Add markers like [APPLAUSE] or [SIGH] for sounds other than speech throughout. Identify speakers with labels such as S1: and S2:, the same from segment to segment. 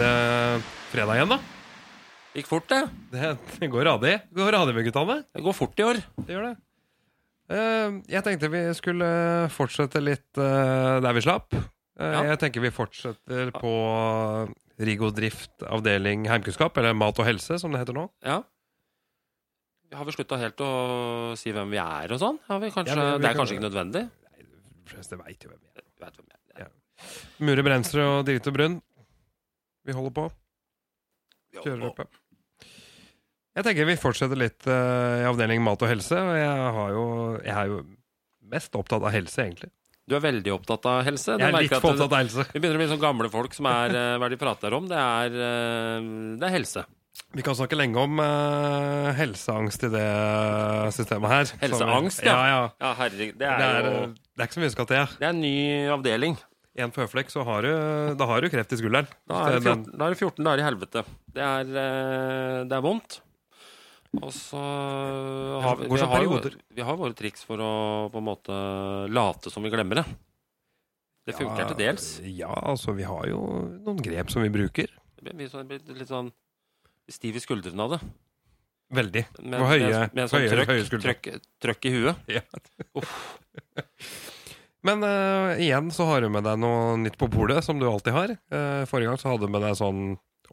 S1: eh, fredag igjen, da.
S2: Gikk fort, det.
S1: Det, det går radig. Det går radig med guttene.
S2: Det går fort i år.
S1: Det gjør det. Eh, jeg tenkte vi skulle fortsette litt eh, der vi slapp. Eh,
S2: Ja.
S1: Jeg tenker vi fortsetter på Rigo drift avdeling heimkunnskap, eller mat og helse, som det heter nå.
S2: Ja. Har vi slutta helt å si hvem vi er og sånn? Har vi kanskje,
S1: Ja, men vi
S2: det er
S1: kan-
S2: kanskje ikke nødvendig?
S1: De fleste vet jo hvem vi er.
S2: Jeg vet hvem jeg er.
S1: Mure Brensrud og Drite Brunn. Vi holder på.
S2: Vi holder
S1: Kjører
S2: på.
S1: oppe. Jeg tenker vi fortsetter litt eh, i avdeling mat og helse. Og jeg, har jo, jeg er jo mest opptatt av helse, egentlig.
S2: Du er veldig opptatt av helse. Du
S1: Jeg er
S2: merker
S1: litt
S2: at
S1: for
S2: du-
S1: opptatt av helse.
S2: Vi begynner å bli sånn gamle folk som er eh, Hva er det de prater om? Det er, eh, det er helse.
S1: Vi kan snakke lenge om eh, helseangst i det eh, systemet her. Så vi-
S2: Helseangst, ja.
S1: ja, ja.
S2: Ja, herregud. Det
S1: Det,
S2: er,
S1: er,
S2: jo
S1: eh, det er ikke så mye som skal til.
S2: Det er en ny avdeling.
S1: Én føflekk, så har du, da har du kreft i skulderen.
S2: Da er det
S1: Så
S2: 14,
S1: den-
S2: da er det 14 dager i helvete. Det er, eh, det er vondt. Og så har vi,
S1: Det går
S2: vi,
S1: som
S2: har jo,
S1: perioder.
S2: vi har våre triks for å på en måte late som vi glemmer det. Det funker til dels.
S1: Ja, altså, vi har jo noen grep som vi bruker.
S2: Vi blir sånn- blir litt sånn stiv i skuldrene av det.
S1: Veldig.
S2: Med,
S1: Og høye-
S2: med, med en sånn
S1: høyere-
S2: trøkk,
S1: høye skuldre.
S2: trøkk, trøkk i huet.
S1: Men eh, igjen så har du med deg noe nytt på bordet, som du alltid har. Eh, forrige gang så hadde du med deg sånn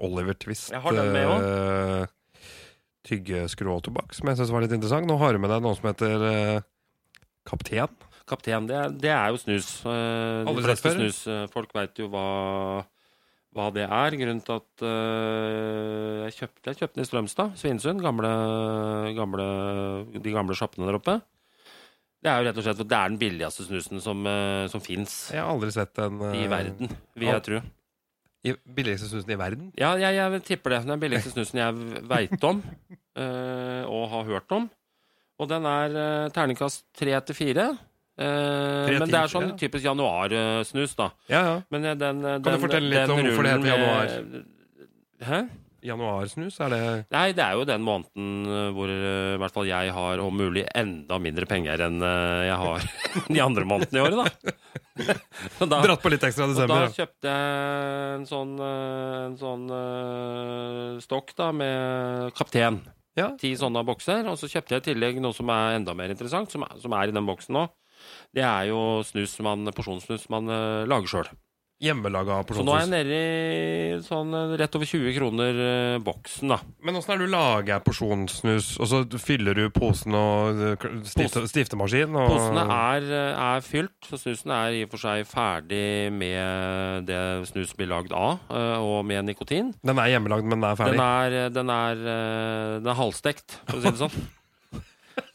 S1: Oliver Twist.
S2: Jeg har den med
S1: eh, Tyggeskru og tobakk, som jeg syns var litt interessant. Nå har du med deg noe som heter eh, Kaptein.
S2: Kaptein, det er, det er jo snus. Eh, De
S1: Aldri sett
S2: fleste
S1: før.
S2: snusfolk veit jo hva, hva det er. Grunnen til at eh, jeg, kjøpte, jeg kjøpte den i Strømstad, Svinesund. Gamle, gamle, de gamle sjappene der oppe. Det er jo rett og slett for det er den billigste snusen som, eh, som fins
S1: Jeg har aldri sett en eh,
S2: i verden, vil
S1: ja.
S2: jeg tro.
S1: I billigste snusen i verden.
S2: Ja, jeg, jeg tipper det. Det er Den billigste snusen jeg veit om [LAUGHS] eh, og har hørt om. Og den er eh, terningkast tre til fire. Eh,
S1: Tre
S2: men
S1: til
S2: det er sånn
S1: fire?
S2: typisk januarsnus, da.
S1: Ja, ja.
S2: Men eh, den, eh,
S1: Kan du
S2: den,
S1: fortelle litt om hvorfor det heter
S2: rullen med- Hæ?
S1: Januarsnus, er det
S2: Nei, det er jo den måneden eh, hvor eh, i hvert fall jeg har om mulig enda mindre penger enn eh, jeg har [LAUGHS] de andre månedene i året, da. [LAUGHS] Så da
S1: Dratt på litt ekstra i
S2: og da
S1: desember. ja.
S2: kjøpte jeg en sånn, eh, en sånn eh, stokk da, med kaptein.
S1: Ja.
S2: Ti sånne bokser. Og så kjøpte jeg i tillegg noe som er enda mer interessant, som er, som er i den boksen nå. Det er jo snus man, porsjonssnus man eh, lager sjøl.
S1: Hjemmelaga
S2: Så nå er
S1: porsjonssnus.
S2: jeg nede i sånn eh, rett over 20 kroner eh, boksen, da.
S1: Men åssen er det du lager porsjonssnus, og så fyller du posen og eh, k- stifte, stiftemaskin? Og...
S2: Posene er, er fylt, så snusen er i og for seg ferdig med det snus blir lagd av, eh, og med nikotin.
S1: Den er hjemmelagd, men den er ferdig?
S2: Den er, den er, eh, den er halvstekt, for å si det
S1: [LAUGHS]
S2: sånn.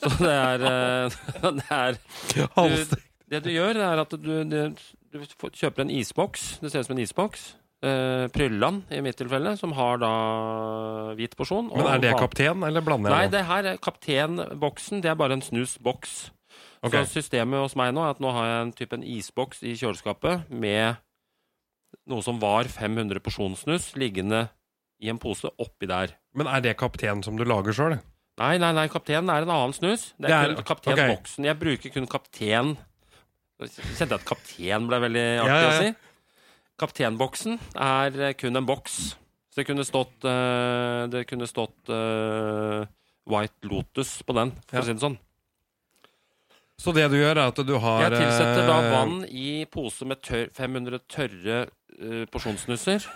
S2: Så det er, eh, [LAUGHS] det er
S1: Halvst-
S2: Det du gjør, det er at du, det- du får- kjøper en isboks. Det ser ut som en isboks. Eh, Prylland, i mitt tilfelle, som har da hvit porsjon. og
S1: Men er det
S2: van-
S1: kaptein, eller blander
S2: Nei,
S1: jeg nå?
S2: det her er kapteinboksen. Det er bare en snusboks.
S1: Ok.
S2: Så systemet hos meg nå er at nå har jeg en type en isboks i kjøleskapet med noe som var 500 porsjonssnus liggende i en pose oppi der.
S1: Men er det kaptein som du lager sjøl?
S2: Nei, nei, nei, kapteinen er en annen snus. Det
S1: Det er-
S2: er, kun kaptein
S1: ok.
S2: Boksen. Jeg bruker kun kaptein Nå Kjente jeg at kaptein ble veldig artig
S1: Ja, ja, ja.
S2: å si. Kapteinboksen er eh, kun en boks. Så det kunne stått eh, Det kunne stått eh, White Lotus på den, for
S1: Ja.
S2: å si det sånn.
S1: Så det du gjør, er at du har
S2: Jeg tilsetter da
S1: eh,
S2: vann i pose med tør 500 tørre eh,
S1: [LAUGHS]
S2: porsjonssnusser.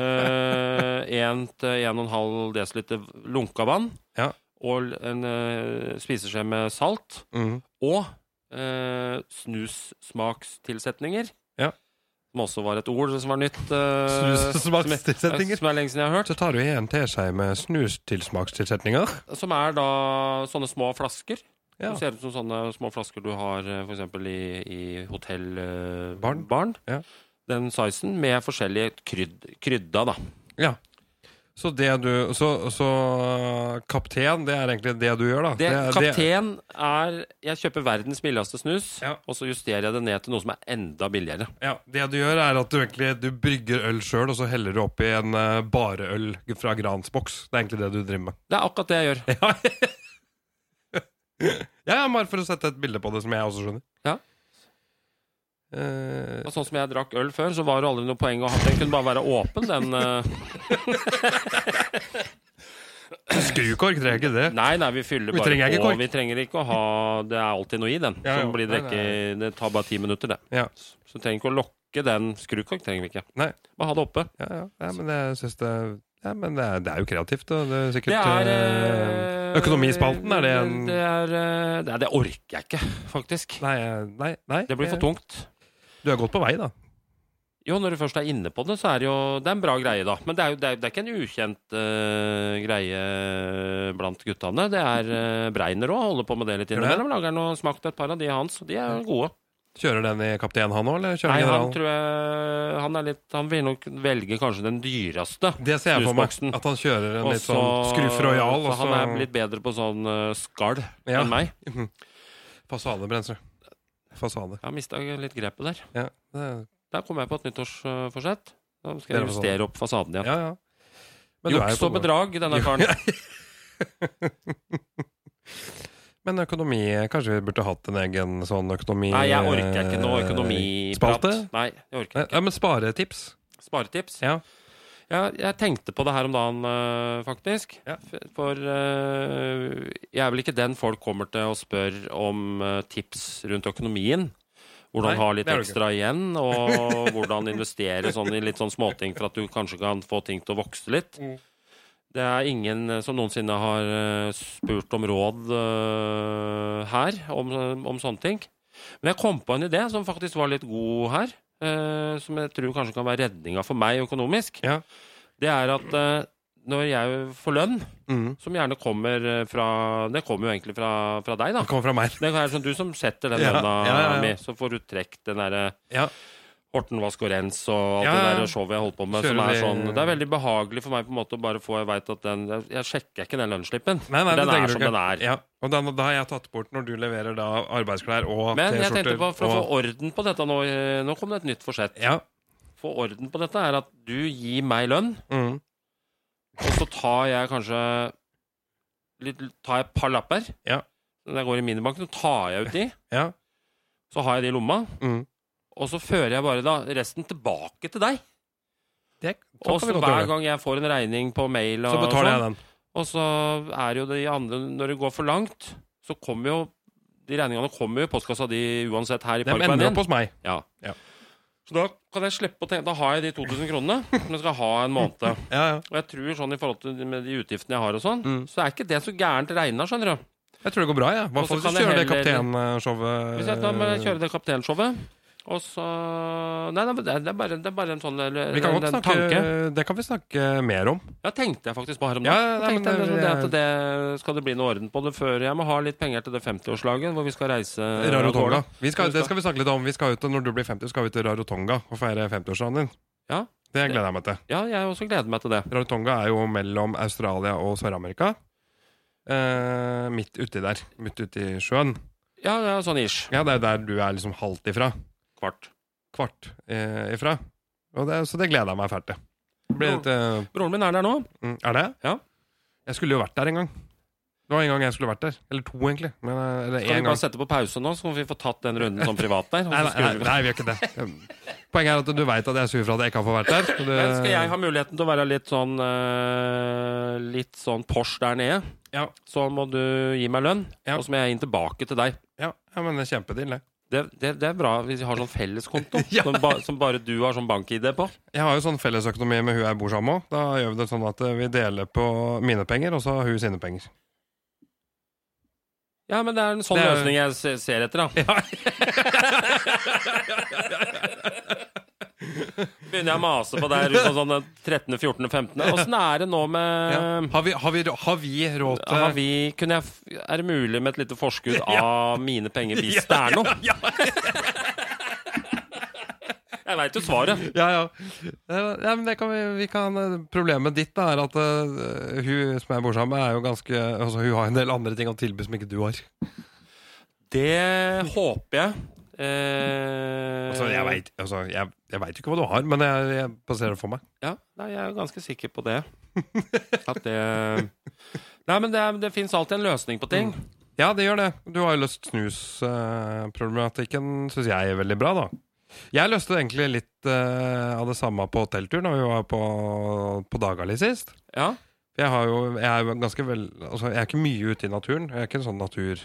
S2: Eh, en til 1,5 dl lunka vann.
S1: Ja.
S2: Og en eh, spiseskje med salt.
S1: Mm.
S2: Og eh, snussmakstilsetninger.
S1: Ja.
S2: Som også var et ord som var nytt. eh, som,
S1: Snustilsetninger.
S2: jeg- som er lenge siden jeg har hørt.
S1: Så tar du i en teskje med snustilsmakstilsetninger.
S2: Som er da sånne små flasker.
S1: Ja.
S2: Som ser ut som sånne små flasker du har f.eks. i, i hotell eh,
S1: Barn. Ja.
S2: Den sizen med forskjellige krydd, krydda, da.
S1: Så det du Så, så kaptein, det er egentlig det du gjør, da?
S2: Det,
S1: er-
S2: kaptein er Jeg kjøper verdens billigste snus,
S1: Ja.
S2: og så justerer jeg det ned til noe som er enda billigere.
S1: Ja, Det du gjør, er at du egentlig du brygger øl sjøl, og så heller du oppi en eh, bareøl fra Grans boks. Det er egentlig det du driver med.
S2: Det er akkurat det jeg gjør.
S1: Ja, ja, ja, bare for å sette et bilde på det som jeg også skjønner.
S2: Ja.
S1: Eh,
S2: Og sånn som jeg drakk øl før, så var det aldri noe poeng å ha den. Kunne bare være åpen, den. eh.
S1: skrukork, det er ikke det.
S2: Nei, nei, vi fyller
S1: Vi
S2: bare
S1: trenger ikke
S2: på.
S1: kork.
S2: Vi trenger ikke å ha Det er alltid noe i den.
S1: Ja,
S2: som
S1: ja.
S2: blir
S1: Nei,
S2: drikke, det tar bare ti minutter, det.
S1: Ja.
S2: Så trenger ikke å lokke den skrukork. trenger vi ikke.
S1: Nei.
S2: Bare ha det oppe.
S1: Ja, ja. Nei, men jeg synes det, er- ja, men det, er, det er jo kreativt, og det er sikkert
S2: Det er
S1: eh,
S2: eh,
S1: Økonomispalten, er det en
S2: Det er, eh, nei, det orker jeg ikke, faktisk.
S1: Nei, eh, nei, nei.
S2: Det blir for tungt.
S1: Du er godt på vei, da.
S2: Jo, når du først er inne på det, så er det jo Det er en bra greie, da. Men det er jo det er, det er ikke en ukjent eh, greie blant guttene. Det er eh, Breiner òg, holder på med det litt
S1: Gjør det?
S2: innimellom. Lager han og smakt et par av de hans, og de er gode.
S1: Kjører den i kaptein, han òg, eller kjører
S2: Nei, han
S1: general?
S2: tror jeg Han er litt Han vil nok velge kanskje den dyreste.
S1: Det ser jeg for meg.
S2: Snusboksen.
S1: At han kjører en
S2: Og
S1: litt
S2: så-
S1: sånn skruff royal, og
S2: så
S1: så
S2: Han er litt bedre på sånn eh, skall
S1: Ja.
S2: enn meg.
S1: Fasadebrensere. Fasade.
S2: Jeg har mista litt grepet der.
S1: Ja, det, er-
S2: Der kom jeg på et nyttårsforsett.
S1: Det
S2: Da skal
S1: er sånn.
S2: jeg justere opp fasaden igjen.
S1: ja, ja. Men du er jo
S2: Juks
S1: på
S2: og
S1: god-
S2: bedrag, denne
S1: Jo, [LAUGHS]
S2: karen.
S1: Men økonomi Kanskje vi burde hatt en egen sånn økonomi...
S2: Nei, jeg orker ikke noe økonomiprat.
S1: Spalte?
S2: Nei, jeg orker
S1: Ja, men sparetips.
S2: Sparetips?
S1: Ja.
S2: Ja, jeg tenkte på det her om dagen, øh, faktisk.
S1: Ja.
S2: F- For øh, jeg er vel ikke den folk kommer til å spørre om øh, tips rundt økonomien. Hvordan
S1: Nei,
S2: ha litt
S1: det er du
S2: ekstra igjen, og hvordan investere sånn i litt sånn småting for at du kanskje kan få ting til å vokse litt.
S1: Mm.
S2: Det er ingen øh, som noensinne har øh, spurt om råd øh, her, om, om sånne ting. Men jeg kom på en idé som faktisk var litt god her, eh, som jeg tror kanskje kan være redninga for meg økonomisk.
S1: Ja.
S2: Det er at eh, når jeg får lønn,
S1: Mm.
S2: som gjerne kommer eh, fra Det kommer jo egentlig fra, fra deg, da.
S1: Det kommer fra meg.
S2: Det er sånn du som setter den
S1: Ja,
S2: lønna
S1: ja, ja, ja.
S2: mi, så får du trukket den derre
S1: Ja.
S2: Horten Vask og Rens og alt
S1: Ja, ja, ja.
S2: det der showet jeg holdt på med.
S1: Kjører
S2: Som er
S1: de-
S2: sånn, det er veldig behagelig for meg på en måte å bare få Jeg vet at den Jeg, jeg sjekker ikke den lønnsslippen.
S1: Nei, nei, det
S2: den
S1: trenger
S2: er
S1: du
S2: som
S1: ikke.
S2: den er.
S1: Ja. Og da, da har jeg tatt bort når du leverer da arbeidsklær og
S2: Men jeg tenkte
S1: T-skjorter.
S2: på, for å
S1: og-
S2: få orden på dette nå eh, Nå kom det et nytt forsett.
S1: Ja.
S2: få orden på dette, er at du gir meg lønn,
S1: Mm.
S2: og så tar jeg kanskje litt, Tar jeg et par lapper.
S1: Ja.
S2: Når jeg går i minibanken, så tar jeg ut de.
S1: Ja.
S2: Så har jeg de i lomma,
S1: Mm.
S2: og så fører jeg bare da resten tilbake til deg.
S1: Det sånn kan
S2: Og så
S1: vi godt
S2: hver
S1: gjøre.
S2: gang jeg får en regning på mail, og
S1: Så betaler jeg
S2: sånn,
S1: den.
S2: og så er jo de andre Når det går for langt, så kommer jo de regningene kommer jo i postkassa di uansett her i
S1: Den
S2: Parkveien.
S1: ender opp
S2: din.
S1: hos meg.
S2: Ja.
S1: Ja.
S2: Så da kan jeg slippe å tenke Da har jeg de 2000 kronene som jeg skal ha en måned.
S1: Ja, ja.
S2: Og jeg tror sånn i forhold til med de utgiftene jeg har og sånn,
S1: Mm.
S2: så er ikke det så gærent regna, skjønner du.
S1: Jeg tror det går bra, jeg. Ja. Hva
S2: Og så
S1: får vi
S2: kan jeg
S1: kjøre det eh,
S2: heller-
S1: kapteinshowet?
S2: Hvis jeg da må
S1: eh,
S2: kjøre det kapteinshowet, og så Nei, nei, det er- det er bare, det er bare en sånn eller,
S1: Vi kan
S2: en,
S1: godt
S2: en
S1: snakke
S2: tanke.
S1: Det kan vi snakke mer om.
S2: Ja, tenkte jeg faktisk på her om
S1: Ja,
S2: dagen.
S1: ja, nei,
S2: Jeg tenkte
S1: men
S2: jeg,
S1: det-
S2: det, at det skal det bli noe orden på det før jeg må ha litt penger til det 50-årslaget, hvor vi skal reise
S1: Rarotonga. Vi skal,
S2: Vi skal-
S1: det skal vi snakke litt om. Vi skal ut, når du blir 50, skal vi til Rarotonga og feire 50-årsdagen din.
S2: Ja.
S1: Det gleder jeg meg til.
S2: Ja, jeg også gleder meg til det.
S1: Rarotonga er jo mellom Australia og Sør-Amerika. Eh, midt uti der. Midt uti sjøen.
S2: Ja, ja, sånn ish.
S1: Ja, det er der du er liksom halvt ifra.
S2: Kvart.
S1: Kvart eh, ifra. Og det, så det gleder jeg meg fælt til. Det Blir litt, eh,
S2: Broren min er der nå.
S1: Mm, Er det?
S2: Ja.
S1: Jeg skulle jo vært der en gang. Det var en gang jeg skulle vært der. Eller to, egentlig. Men, eh, eller
S2: Skal vi
S1: en
S2: bare
S1: gang.
S2: sette på pause nå, så kan vi få tatt den runden sånn privat der? og
S1: Nei,
S2: så
S1: nei,
S2: skriver
S1: nei,
S2: vi-
S1: nei, vi gjør ikke det.
S2: [LAUGHS]
S1: Poenget er at du veit at jeg er sur for at jeg ikke har fått vært der. og Det,
S2: Men skal jeg ha muligheten til å være litt sånn eh, Litt sånn Porsche der nede,
S1: Ja.
S2: så må du gi meg lønn,
S1: Ja.
S2: og så må jeg inn tilbake til deg.
S1: ja, ja, men det er kjempedeal, det.
S2: Det, det, det er bra hvis vi har sånn [LAUGHS] felleskonto
S1: Ja.
S2: som, ba, som bare du har sånn bank-ID på.
S1: Jeg har jo sånn fellesøkonomi med hun jeg bor sammen med òg. Da gjør vi det sånn at eh, vi deler på mine penger, og så har hun sine penger.
S2: Ja, men det er en sånn
S1: Det er-
S2: løsning jeg se- ser etter, da. [LAUGHS] Begynner jeg å mase på deg rundt sånn den 13., 14., 15. [LAUGHS] Åssen er det nå med
S1: Ja. Har, vi, har, vi, Ehm, har vi råd til
S2: har vi, kunne jeg, f- Er det mulig med et lite [LAUGHS] forskudd av mine penger [LAUGHS] hvis det er noe?
S1: [LAUGHS] Ja,
S2: Jeg veit jo svaret.
S1: ja. ja. Eh, ja men det kan vi, vi kan, eh, problemet ditt da, er at eh, hun som jeg bor sammen med, er jo ganske altså, Hun har en del andre ting å tilby som ikke du har.
S2: Det håper jeg. Eh,
S1: Altså, jeg veit altså, jeg, jeg vet jo ikke hva du har, men jeg, jeg baserer det for meg.
S2: Ja, nei, jeg er ganske sikker på
S1: [LAUGHS]
S2: det. At det Nei, men det, er- det fins alltid en løsning på
S1: Mm.
S2: ting.
S1: Ja, det gjør det. Du har jo løst snusproblematikken, uh, syns jeg, er veldig bra, da. Jeg løste egentlig litt eh, av det samme på hotelltur når vi var på, på Dagali sist.
S2: Ja,
S1: For Jeg, har jo, jeg er jo ganske vel altså, Jeg er ikke mye ute i naturen. Jeg er ikke en sånn natur,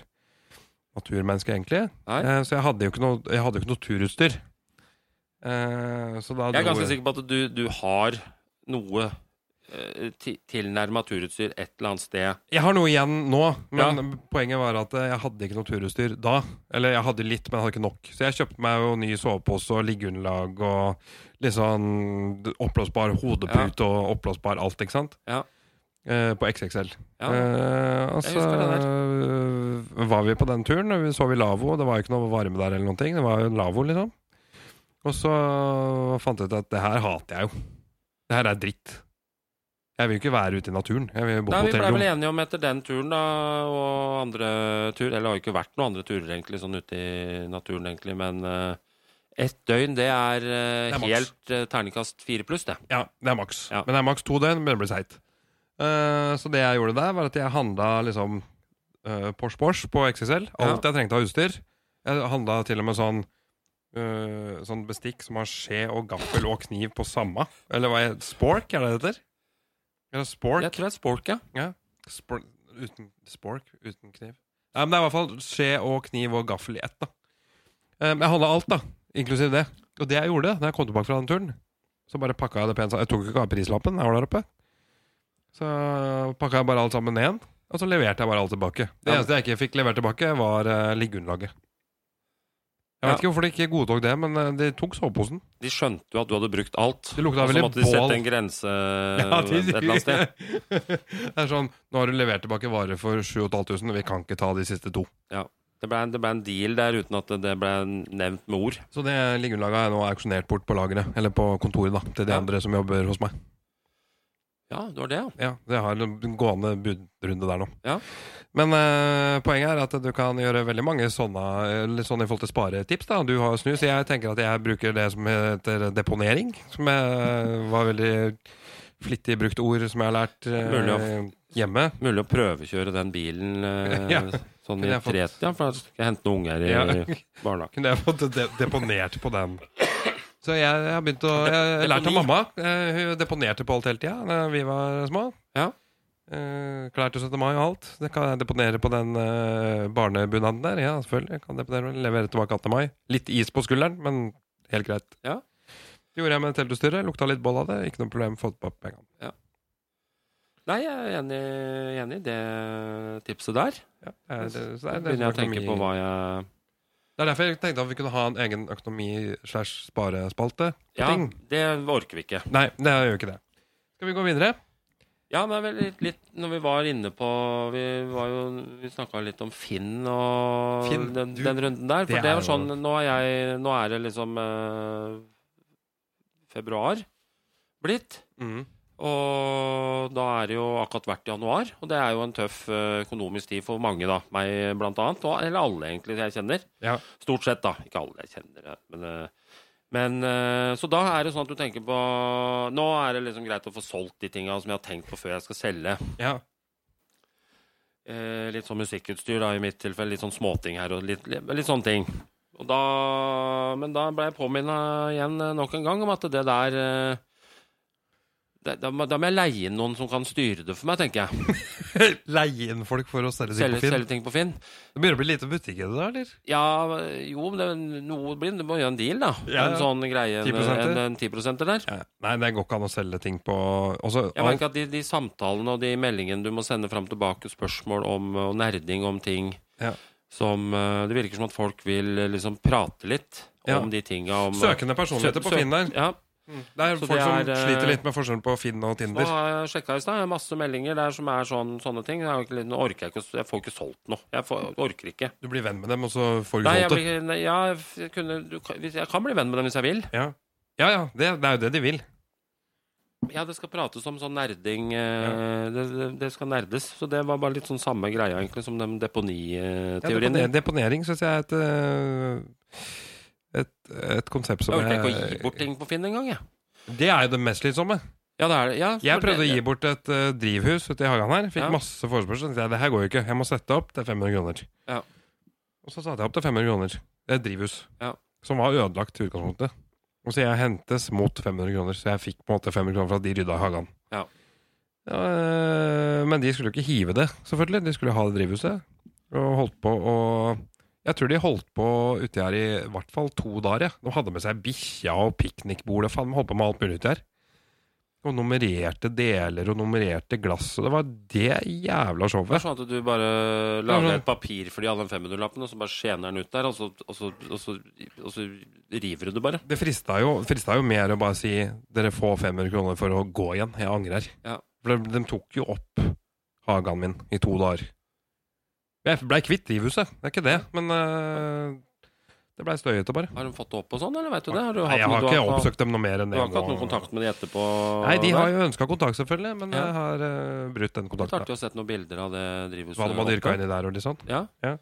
S1: naturmenneske, egentlig.
S2: Nei.
S1: Eh, så jeg hadde jo ikke noe, jeg hadde jo ikke noe turutstyr. Eh, så da
S2: Jeg er
S1: dro
S2: ganske sikker på at du, du har noe eh, ti- tilnærmet turutstyr et eller annet sted.
S1: Jeg har noe igjen nå, men poenget var at eh, jeg hadde ikke noe turutstyr da. Eller jeg hadde litt, men jeg hadde ikke nok. Så jeg kjøpte meg jo ny sovepose og liggeunderlag og litt sånn oppblåsbar hodepute og oppblåsbar alt, ikke sant?
S2: Ja.
S1: Eh, på XXL.
S2: Ja.
S1: Eh, og
S2: Jeg
S1: så
S2: husker det
S1: eh, var vi på den turen, og vi sov i lavvo. Det var jo ikke noe varme der eller noen ting. Det var jo en lavvo, liksom. Og så fant jeg ut at det her hater jeg jo. Det her er dritt. Jeg vil jo ikke være ute i naturen. Jeg vil jo bo på
S2: Nei, vi ble
S1: hotellrom.
S2: vel enige om etter den turen da, og andre tur, eller det har jo ikke vært noen andre turer egentlig, sånn ute i naturen egentlig, men eh, ett døgn, det er, eh,
S1: Det er maks.
S2: helt eh, terningkast fire pluss det.
S1: Ja, det er maks.
S2: Ja.
S1: Men det er maks to døgn, men det blir seigt. Eh, så det jeg gjorde der, var at jeg handla liksom eh, Porsche Porsche på XXL. Alt jeg trengte av utstyr. Jeg handla til og med sånn eh, Sånn bestikk som har skje og gaffel og kniv på samme. Eller hva er spork, er det det heter? Eller spork?
S2: Jeg tror det er spork, ja.
S1: spork uten, spork uten kniv. Nei, men det er i hvert fall skje og kniv og gaffel i ett, da. Eh, men jeg handla alt, da. Inklusiv det. Og det jeg gjorde da jeg kom tilbake fra den turen, så bare pakka jeg det pent sammen. Jeg tok jo ikke av prislappen, jeg var der oppe. Så pakka jeg bare alt sammen ned igjen, og så leverte jeg bare alt tilbake. Det
S2: Ja.
S1: eneste jeg ikke fikk levert tilbake, var uh, liggeunderlaget. Jeg vet
S2: Ja.
S1: ikke hvorfor de ikke godtok det, men eh, de tok soveposen.
S2: De skjønte jo at du hadde brukt alt.
S1: Det lukta
S2: Og så
S1: veldig
S2: måtte de
S1: bål.
S2: sette en grense
S1: [LAUGHS] Ja, de-
S2: Eh, et eller annet
S1: [LAUGHS]
S2: sted.
S1: det er sånn Nå har du levert tilbake varer for 7500, vi kan ikke ta de siste to.
S2: Det ble, en, det ble en deal der uten at det ble nevnt med ord.
S1: Så det liggeunderlaget er nå auksjonert bort på lageret, eller på kontoret, da, til de
S2: Ja.
S1: andre som jobber hos meg.
S2: Ja, det var det, ja.
S1: Ja, Det har en gående budrunde der nå.
S2: Ja.
S1: Men eh, poenget er at du kan gjøre veldig mange sånne, eller sånn i forhold til sparetips. da Du har snus. Jeg tenker at jeg bruker det som heter deponering, som jeg var veldig flittig brukt ord som jeg har lært eh,
S2: Mulig
S1: hjemme.
S2: Mulig å prøvekjøre den bilen eh,
S1: [LAUGHS] Ja.
S2: sånn
S1: Kunne
S2: i
S1: jeg fått-
S2: tre Ja, for da skal jeg hente noen unger i
S1: Ja.
S2: [LAUGHS] barnehagen.
S1: Kunne jeg fått de deponert på den. Så jeg, jeg har begynt å Jeg har lært av
S2: Deponi.
S1: mamma. Eh, Hun deponerte på alt hele tida da vi var små.
S2: Ja.
S1: Eh, Klær til 17. mai og alt. Det kan jeg deponere på den eh, barnebunaden der. Ja, selvfølgelig. Jeg kan deponere den. Levere tilbake 18. mai. Litt is på skulderen, men helt greit.
S2: Ja.
S1: Det gjorde jeg med teltutstyret. Lukta litt boll av det. Ikke noe problem. Fått på pengene.
S2: Nei, jeg er enig, enig i det tipset der.
S1: Ja, det er- det er-
S2: Da
S1: det er
S2: begynner jeg å tenke
S1: økonomi-
S2: på hva jeg
S1: Det er derfor jeg tenkte at vi kunne ha en egen økonomi-slash-sparespalte.
S2: Ja,
S1: Ting.
S2: det orker vi ikke.
S1: Nei, det gjør ikke det. Skal vi gå videre?
S2: Ja, men vel litt, litt når vi var inne på Vi, var jo, vi snakka litt om Finn og
S1: Finn,
S2: den,
S1: du-
S2: den runden der. For
S1: det
S2: det,
S1: er
S2: var
S1: jo-
S2: sånn Nå er, jeg, nå er det liksom eh, februar blitt.
S1: Mhm.
S2: Og da er det jo akkurat vært januar, og det er jo en tøff eh, økonomisk tid for mange, da. Meg blant annet, og, eller alle egentlig jeg kjenner.
S1: Ja.
S2: Stort sett, da. Ikke alle jeg kjenner, men, eh, men eh, Så da er det sånn at du tenker på Nå er det liksom greit å få solgt de tinga som jeg har tenkt på før jeg skal selge.
S1: Ja.
S2: Eh, litt sånn musikkutstyr, da, i mitt tilfelle. Litt sånn småting her og litt, litt, litt sånne ting. Og da, men da ble jeg påminna igjen eh, nok en gang om at det der eh, det, da, må- da må jeg leie inn noen som kan styre det for meg, tenker jeg.
S1: [LAUGHS] Leie inn folk for å selge ting
S2: Selge,
S1: på Finn?
S2: selge ting på Finn.
S1: Det begynner å bli lite butikk i det, da? eller?
S2: Ja, jo, men det, er noe blir Du må gjøre en deal, da.
S1: Ja,
S2: En
S1: ja.
S2: sånn greie. En,
S1: 10%?
S2: en, en 10 der.
S1: Nei, det går ikke an å selge ting på også,
S2: Jeg
S1: alt,
S2: merker at de, de samtalene og de meldingene du må sende fram og tilbake, spørsmål om og nerding om ting
S1: Ja.
S2: som eh, Det virker som at folk vil eh, liksom prate litt
S1: Ja.
S2: om de tinga. Om,
S1: Søkende personligheter
S2: Sø-
S1: på
S2: sø-
S1: Finn der.
S2: Ja.
S1: Mm. Det er
S2: Så
S1: folk
S2: det
S1: som
S2: er, eh,
S1: sliter litt med forskjellen på Finn og
S2: Nå
S1: Tinder.
S2: har jeg sjekka i stad. jeg har Masse meldinger der som er sånn, sånne ting. Jeg, har ikke, nå orker jeg, ikke, å- jeg får ikke solgt noe. Jeg får, orker ikke.
S1: Du blir venn med dem, og så får du
S2: Nei, jeg,
S1: solgt det.
S2: blir, nei, ja, jeg, f- jeg kunne, du, kan- hvis- jeg kan bli venn med dem hvis jeg vil.
S1: Ja, ja. ja det, det er jo det de vil.
S2: Ja, det skal prates om sånn nerding. eh, Det, det, det skal nerdes. Så det var bare litt sånn samme greia egentlig som den
S1: Ja,
S2: deponiteorien.
S1: deponering deponering syns jeg er et, eh, et, et konsept som
S2: jeg orker ikke å
S1: Eh,
S2: gi bort ting på Finn engang, jeg.
S1: Det er jo det mest slitsomme.
S2: Ja, det er det. Ja,
S1: Jeg
S2: for
S1: prøvde å
S2: det-
S1: gi bort et eh, drivhus ute i hagen her. Fikk
S2: Ja.
S1: masse forespørsel. Tenkte jeg, det her går jo ikke. Jeg må sette opp. Det er 500 kroner.
S2: Ja.
S1: Og så satte jeg opp til 500 kroner. Det er et drivhus.
S2: Ja.
S1: som var ødelagt i utgangspunktet. Og så jeg hentes mot 500 kroner, så jeg fikk på en måte 500 kroner for at de rydda i hagen.
S2: Ja.
S1: Ja, øh, men de skulle jo ikke hive det, selvfølgelig. De skulle jo ha det drivhuset. Og holdt på å Jeg tror de holdt på uti her i hvert fall to dager. Ja. De hadde med seg bikkja og piknikbord og faen, de holdt på med alt mulig uti her. Og nummererte deler og nummererte glass, og det var det jævla
S2: Det er
S1: showet.
S2: sånn at du bare
S1: Ja,
S2: lager
S1: sånn.
S2: et papir for de alle den 500-lappen, og så bare skjener den ut der, og så, og så, og så, og så river du det bare.
S1: Det frista jo, frista jo mer å bare si 'dere får 500 kroner for å gå igjen', jeg angrer.
S2: Ja.
S1: For de, de tok jo opp hagen min i to dager. Jeg blei kvitt drivhuset, det er ikke det, men øh, det blei støyete, bare.
S2: Har de fått det opp og sånn, eller vet du det? Har du
S1: Nei, jeg
S2: noe-
S1: har
S2: du
S1: ikke
S2: hatt noe-
S1: oppsøkt dem noe mer enn det.
S2: Du har ikke
S1: nå.
S2: hatt noen kontakt med de etterpå?
S1: Nei, de har jo ønska kontakt, selvfølgelig, men
S2: Ja.
S1: jeg har øh, brutt den
S2: Det er
S1: kontakten.
S2: artig å sette noen bilder av det drivhuset.
S1: Hva de har dyrka inni der og litt sånt.
S2: Ja,
S1: Jeg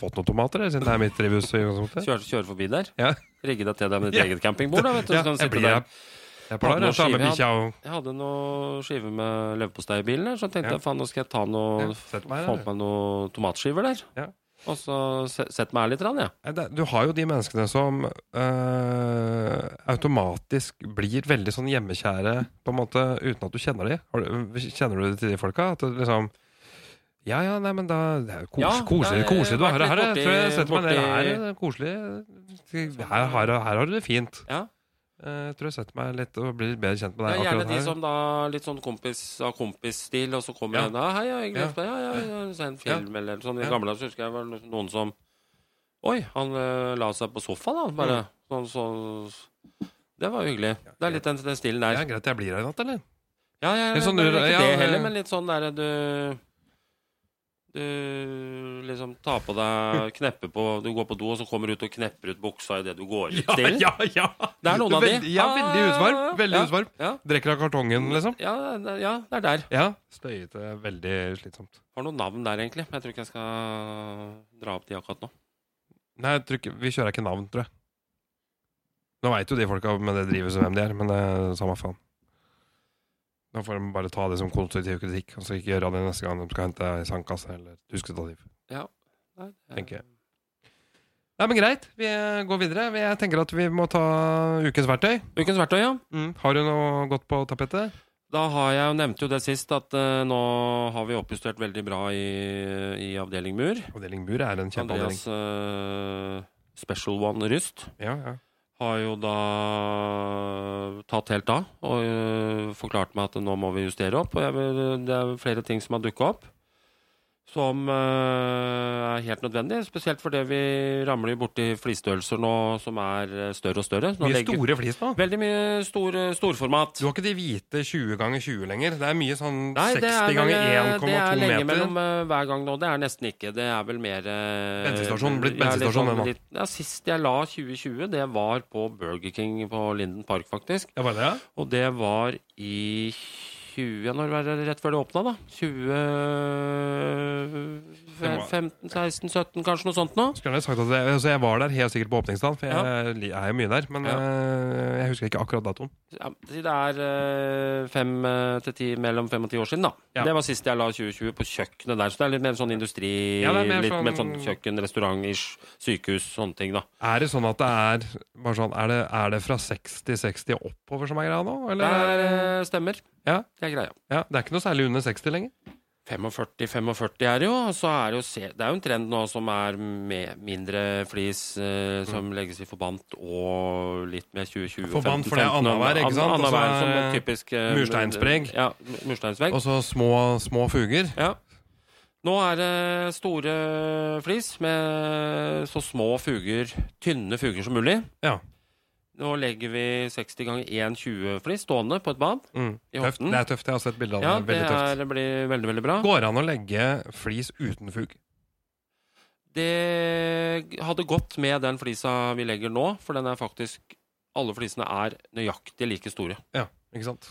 S1: har fått noen tomater, jeg, siden det er mitt drivhus. i utgangspunktet.
S2: kjøre, kjøre forbi der.
S1: Ja.
S2: Rigge deg til deg med
S1: Ja.
S2: ditt eget campingbord, da, vet du. så
S1: Ja,
S2: kan
S1: jeg
S2: du sitte
S1: blir
S2: sånn der.
S1: her. Jeg pleier å ta med
S2: Partnerskive,
S1: bikkja og
S2: Jeg hadde noe skive med leverpostei i bilen, der, så tenkte
S1: Ja.
S2: jeg faen, nå skal jeg ta noe
S1: Ja, sett meg
S2: Få
S1: der,
S2: på meg noen tomatskiver der.
S1: Ja.
S2: Og så se, sett meg her litt, rann, ja.
S1: Nei, det- Du har jo de menneskene som øh, automatisk blir veldig sånn hjemmekjære på en måte uten at du kjenner de. Har du, kjenner du det til de folka? At det liksom Ja ja, nei, men da det er jo kos,
S2: Ja,
S1: koselig,
S2: ja, jeg
S1: koselig du
S2: har
S1: har det
S2: vært
S1: her.
S2: litt
S1: Jeg tror jeg setter meg ned
S2: borti-
S1: her. det er Koselig. Her, her, her har du det fint.
S2: Ja.
S1: Eh, Jeg tror jeg setter meg litt og blir litt bedre kjent med
S2: Det
S1: deg
S2: er gjerne
S1: akkurat
S2: de
S1: her.
S2: som da litt sånn kompis av kompis-stil, og så kommer
S1: Ja.
S2: en da, hei, ja, jeg
S1: Ja.
S2: glemte deg, ja, ja, ja, se en film, eller sånn. I
S1: Ja.
S2: gamle dager så husker jeg det var noen som Oi, han eh, la seg på sofaen, da, bare. Sånn, så Det var jo hyggelig. Det er litt den, den stilen
S1: Ja,
S2: der.
S1: greit jeg blir her i natt, eller?
S2: Ja, ja,
S1: Litt
S2: ja,
S1: sånn
S2: det er
S1: du-
S2: ikke
S1: ja, det-
S2: det heller, men litt sånn der du Du liksom tar på deg Knepper på Du går på do, og så kommer du ut og knepper ut buksa idet du går ut. stilen.
S1: ja, ja!
S2: Det er noen av de. Ah,
S1: Veldig- Ja, veldig husvarm. Veldig
S2: Ja,
S1: husvarm.
S2: ja.
S1: Drikker av kartongen, liksom.
S2: Ja, det- ja, det er der.
S1: Ja. Støyete. Veldig slitsomt.
S2: Har noen navn der, egentlig. Men jeg tror ikke jeg skal dra opp de akkurat nå.
S1: Nei, jeg tror ikke, vi kjører ikke navn, tror jeg. Nå veit jo de folka med det drivet som hvem de er, men det er samme faen. Da får de bare ta det som konstruktiv kritikk, og så ikke gjøre det neste gang de skal hente ei sandkasse eller et huskestativ.
S2: Nei,
S1: Tenker jeg. Nei, men greit, vi går videre. Vi- Jeg tenker at vi må ta ukens verktøy.
S2: Ukens verktøy, ja.
S1: Har du noe godt på tapetet?
S2: Da har jeg jo nevnte jo det sist, at eh, nå har vi oppjustert veldig bra i, i avdeling Mur.
S1: Avdeling Bur er en kjempeavdeling.
S2: Andreas eh, Special One Ryst
S1: Ja, ja.
S2: har jo da tatt helt av og øh, forklart meg at nå må vi justere opp. Og jeg vil, det er flere ting som har dukka opp som øh, er helt nødvendig. Spesielt fordi vi ramler jo borti flisstørrelser nå som er øh, større og større. Så nå
S1: Mye
S2: legger-
S1: store flis nå.
S2: Veldig mye stor, øh, storformat.
S1: Du har ikke de hvite 20 ganger 20 lenger. Det er mye sånn
S2: Nei, det er,
S1: 60
S2: vel,
S1: ganger
S2: øh, det er
S1: 1,2
S2: lenge
S1: meter.
S2: mellom øh, hver gang nå. Det er nesten ikke. Det er vel mer øh,
S1: Bensinstasjon, blitt
S2: ja, litt
S1: bensinstasjon,
S2: sånn
S1: det nå.
S2: litt- Ja, Sist jeg la 2020, det var på Burger King på Linden Park, faktisk.
S1: Ja, var det det?
S2: Og det var i 20 ja, Når var det rett før det åpna, da? 20
S1: Det var-
S2: 15, 16, 17, kanskje noe sånt nå?
S1: Skulle gjerne sagt at jeg, altså jeg var der helt sikkert på åpningsdagen, for jeg li- er jo mye der. Men
S2: Ja.
S1: eh, jeg husker ikke akkurat datoen.
S2: Ja, si det er eh, fem eh, til ti, mellom fem og ti år siden, da.
S1: Ja.
S2: Det var sist jeg la 2020 på kjøkkenet der. Så det er litt mer sånn industri,
S1: Ja, det er mer
S2: litt
S1: sånn-
S2: mer sånn kjøkken, restaurant-ish, sykehus, sånne ting, da.
S1: Er det sånn at det er bare sånn, er det, er det fra 60 til 60 og oppover som er greia nå?
S2: Det
S1: Eller?
S2: er, eh, stemmer.
S1: Ja.
S2: Det er greia.
S1: ja, det er ikke noe særlig under 60 lenger.
S2: 45-45 er det jo, og så er det jo se, Det er jo en trend nå som er med mindre flis
S1: Mm.
S2: eh, som legges i forbandt og litt med 2020
S1: Forbandt, for det er annenhver, ikke sant? Og så
S2: Annenhver som
S1: er
S2: en typisk eh,
S1: mursteinspreg.
S2: Ja, mursteinsvegg.
S1: Og så små, små fuger.
S2: Ja. Nå er det store flis med så små fuger, tynne fuger som mulig.
S1: Ja.
S2: Nå legger vi 60 ganger 1,20 flis stående på et bad.
S1: Mm.
S2: I
S1: Tøft.
S2: hoften.
S1: Det er tøft. Jeg har sett bilder av det.
S2: Ja, det,
S1: Veldig tøft.
S2: er, blir veldig, veldig bra.
S1: Går det an å legge flis uten fug?
S2: Det hadde gått med den flisa vi legger nå, for den er faktisk Alle flisene er nøyaktig like store.
S1: Ja, ikke sant?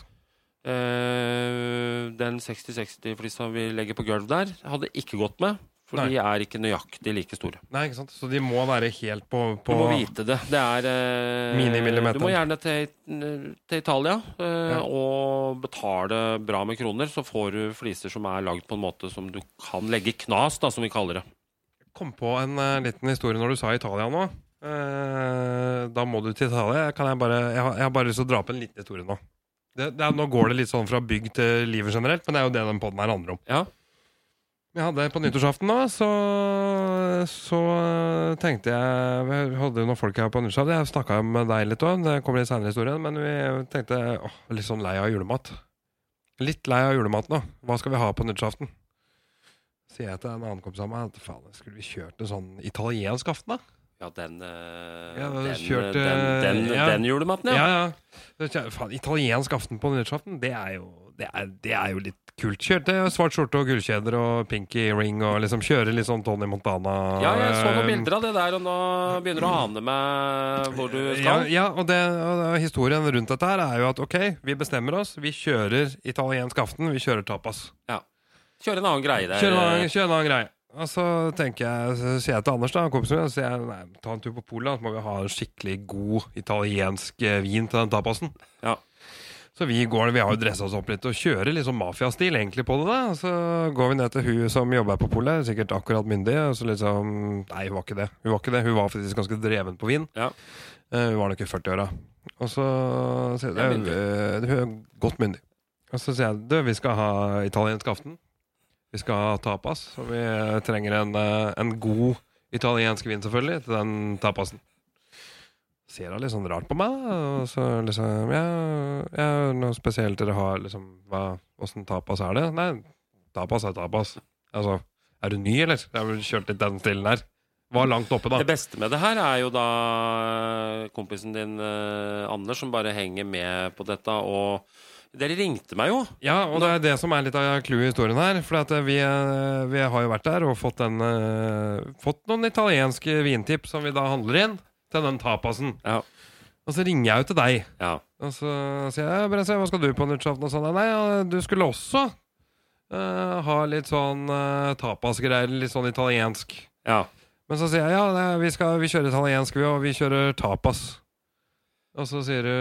S2: Eh, den 60-60-flisa vi legger på gulv der, hadde ikke gått med. For
S1: Nei.
S2: de er ikke nøyaktig like store.
S1: Nei, ikke sant? Så de må være helt på,
S2: Du
S1: på
S2: må vite det. Det er eh,
S1: Minimillimeter.
S2: Du må gjerne til, til Italia eh,
S1: Ja.
S2: og betale bra med kroner. Så får du fliser som er lagd på en måte som du kan legge knas, da, som vi kaller det.
S1: kom på en eh, liten historie når du sa Italia nå. Eh, Eh, da må du til Italia. Kan jeg, bare, jeg, har, jeg har bare lyst til å dra opp en liten historie nå. Det, det er, nå går det litt sånn fra bygg til livet generelt, men det er jo det den podden her handler om.
S2: Ja.
S1: Jeg hadde På nyttårsaften da, så, så eh, tenkte jeg Vi hadde jo noen folk her på nyttårsaften. Jeg snakka med deg litt òg, det kommer litt seinere i historien. Men vi tenkte åh, litt sånn lei av julemat. Litt lei av julemat nå. Hva skal vi ha på nyttårsaften? Sier jeg til en annen kompis av meg at faen, skulle vi kjørt en sånn italiensk aften, da?
S2: Ja, den eh,
S1: Ja, da
S2: den,
S1: kjørte-
S2: den, den,
S1: ja.
S2: den julematen, ja.
S1: Ja, ja. Så kjø- Faen, italiensk aften på nyttårsaften, det er jo det er, det er jo litt kult. Kjørte svart skjorte og gullkjeder og pinky ring og liksom kjøre litt sånn Tony Montana. eh,
S2: ja. jeg så noen bilder av det der, og nå begynner du å ane meg hvor du
S1: Ja,
S2: skal.
S1: ja og, det, og det- historien rundt dette her er jo at ok, vi bestemmer oss. Vi kjører italiensk aften, vi kjører tapas.
S2: Kjøre en annen greie der. eh.
S1: Kjør en annen, kjør en annen greie. Og så tenker jeg, så sier jeg til Anders, da, kompisen min, så sier jeg, nei, ta en tur på Polen, så må vi ha en skikkelig god italiensk eh, vin til den tapasen.
S2: Ja.
S1: Så vi går, vi har jo dressa oss opp litt og kjører liksom mafiastil egentlig på det. da, og Så går vi ned til hun som jobber på polet, sikkert akkurat myndig. og så liksom, Nei, hun var ikke det. Hun var ikke det, hun var faktisk ganske dreven på vin.
S2: Ja.
S1: Eh, hun var nok i 40-åra. Og så sier
S2: Det er
S1: jeg, «Eh, Hun er godt myndig. Og så sier jeg du, vi skal ha italiensk aften. Vi skal ha tapas. Og vi eh, trenger en, eh, en god italiensk vin, selvfølgelig, til den tapasen. Ser hun litt sånn rart på meg, da. Og så liksom Ja, ja noe spesielt dere har, liksom hva, Åssen tapas er det? Nei, tapas er tapas. Altså, er du ny, eller? Jeg har vel kjørt litt den stilen der. Var langt oppe, da.
S2: Det beste med det her er jo da eh, kompisen din eh, Anders som bare henger med på dette, og Dere ringte meg jo.
S1: Ja, og det er det som er litt av clouet i historien her. For at eh, vi, eh, vi har jo vært der og fått, en, eh, fått noen italienske vintips som vi da handler inn til den tapasen.
S2: Ja.
S1: Og så ringer jeg jo til deg,
S2: Ja.
S1: og så sier jeg Bresse, hva skal du på nyttårsaften? Og sånn. Nei, ja, du skulle også eh, ha litt sånn eh, tapasgreier, litt sånn italiensk.
S2: ja.
S1: Men så sier jeg ja, nei, vi, skal, vi kjører italiensk, vi òg. Vi kjører tapas. Og så sier du,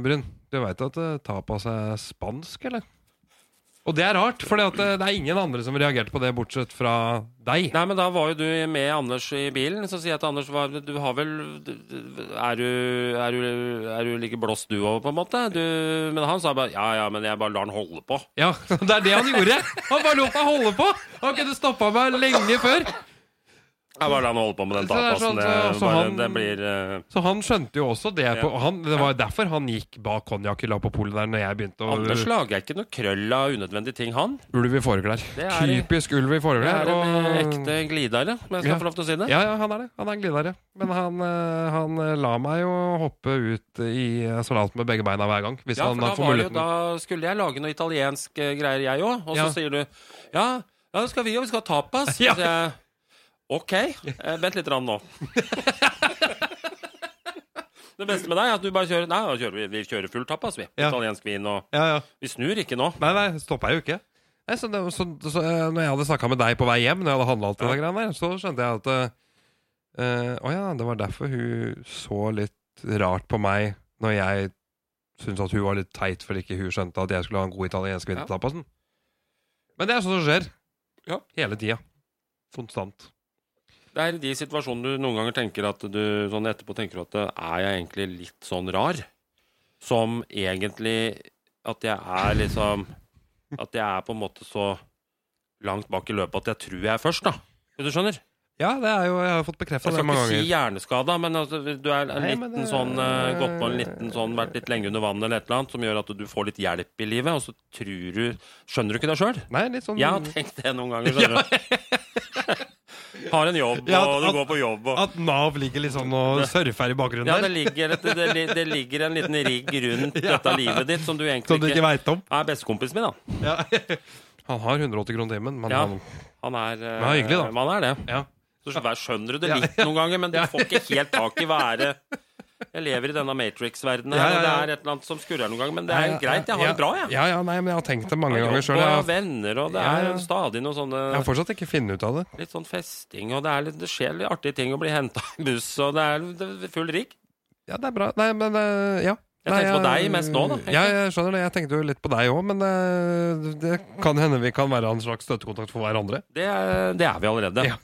S1: Bryn, du veit at eh, tapas er spansk, eller? Og det er rart, for det er ingen andre som reagerte på det, bortsett fra deg.
S2: Nei, men da var jo du med Anders i bilen. Så sier jeg til Anders hva, Du har vel Er du, er du, er du like blåst du òg, på en måte? Du, men han sa bare Ja ja, men jeg bare lar han holde på.
S1: Ja, [LAUGHS] Det er det han gjorde! Han bare lot meg holde på! Han kunne stoppa meg lenge før.
S2: Jeg bare lar han holde på med den
S1: Så det er
S2: tapasen.
S1: sånn,
S2: Det,
S1: så- så
S2: bare,
S1: han-
S2: det blir eh,
S1: Så han skjønte jo også det. På,
S2: Ja.
S1: han, det var derfor han gikk bak konjakkhylla på polet der når jeg begynte å
S2: Anders lager ikke noe krøll av unødvendige ting, han.
S1: Ulv i fåreklær.
S2: Det er-
S1: Typisk ulv i
S2: Det
S1: fåreklær.
S2: er en eh,
S1: og-
S2: ekte glidare, om jeg skal
S1: Ja.
S2: få lov til å si det.
S1: Ja, ja, han er det. Han er en glidere. Men han, eh, han eh, la meg jo hoppe ut i eh, salat med begge beina hver gang. Hvis
S2: Ja, for
S1: han
S2: da,
S1: eh, får
S2: var det jo,
S1: muligheten.
S2: da skulle jeg lage noe italiensk eh, greier, jeg òg. Og så
S1: Ja.
S2: sier du ja, ja, det skal vi jo, vi skal ha tapas.
S1: Ja.
S2: Så sier jeg OK, eh, vent litt rann nå. [LAUGHS] det beste med deg er at du bare kjører Nei, da kjører vi, vi kjører full tapas, vi.
S1: Ja.
S2: Italiensk vin og
S1: Ja, ja.
S2: Vi snur ikke nå.
S1: Nei, nei, stoppa jeg jo ikke. Nei, så, det, så, så eh, når jeg hadde snakka med deg på vei hjem, Når jeg hadde handla alt det
S2: Ja.
S1: der greiene der, så skjønte jeg at eh, eh, Å ja, det var derfor hun så litt rart på meg når jeg syntes at hun var litt teit fordi ikke hun skjønte at jeg skulle ha en god italiensk vintertapp. og sånn. Men det er sånt som skjer.
S2: Ja.
S1: Hele tida. Konstant.
S2: Det er i de situasjonene du noen ganger tenker at du sånn etterpå tenker at er jeg egentlig litt sånn rar? Som egentlig at jeg er liksom At jeg er på en måte så langt bak i løpet at jeg tror jeg er først, da. Hvis du skjønner?
S1: Ja, det er jo, jeg har fått bekrefta
S2: Jeg
S1: det
S2: skal
S1: mange
S2: ikke
S1: ganger.
S2: si hjerneskada, men altså, du er en
S1: Nei, men
S2: liten
S1: det-
S2: sånn eh, Gått på en liten sånn, vært litt lenge under vannet eller et eller annet, som gjør at du får litt hjelp i livet, og så tror du Skjønner du ikke det sjøl?
S1: Nei, litt sånn
S2: Jeg har tenkt det noen ganger, skjønner du. [LAUGHS] Har en jobb,
S1: Ja,
S2: og
S1: at-
S2: du går på jobb, og
S1: At Nav ligger liksom og surfer i bakgrunnen
S2: Ja, det
S1: der,
S2: ligger, et, det, li- det ligger en liten rigg rundt
S1: [LAUGHS]
S2: dette livet ditt som du egentlig
S1: som du ikke
S2: ikke
S1: veit om.
S2: er bestekompisen min, da.
S1: Han har 180 kroner timen, men
S2: Ja.
S1: han
S2: Han er, eh,
S1: Ja, hyggelig, da.
S2: Man er det.
S1: Ja.
S2: Så skjø- skjønner du det
S1: Ja.
S2: litt noen ganger, men du får ikke helt tak i hva er det Jeg lever i denne Matrix-verdenen her,
S1: Ja, ja,
S2: og det
S1: ja.
S2: er et eller annet som skurrer noen ganger, men det er greit. Jeg har det bra, jeg.
S1: Ja, ja, nei, men jeg har tenkt det mange
S2: Jeg har
S1: ganger
S2: jobb,
S1: sjøl.
S2: og jeg har
S1: Jeg,
S2: venner, og det
S1: Ja,
S2: er
S1: ja.
S2: stadig noe sånne
S1: jeg har fortsatt ikke funnet ut av det.
S2: Litt sånn festing, og det, er litt, det skjer litt artige ting å bli henta i buss, og det er, det er full rigg.
S1: Ja, det er bra. Nei, men eh, ja.
S2: Jeg
S1: Nei,
S2: tenkte på
S1: jeg-
S2: deg mest nå, da, egentlig.
S1: Ja, jeg skjønner det. Jeg tenkte jo litt på deg òg, men eh, det kan hende vi kan være en slags støttekontakt for hverandre.
S2: Det, er- det er vi allerede.
S1: Ja.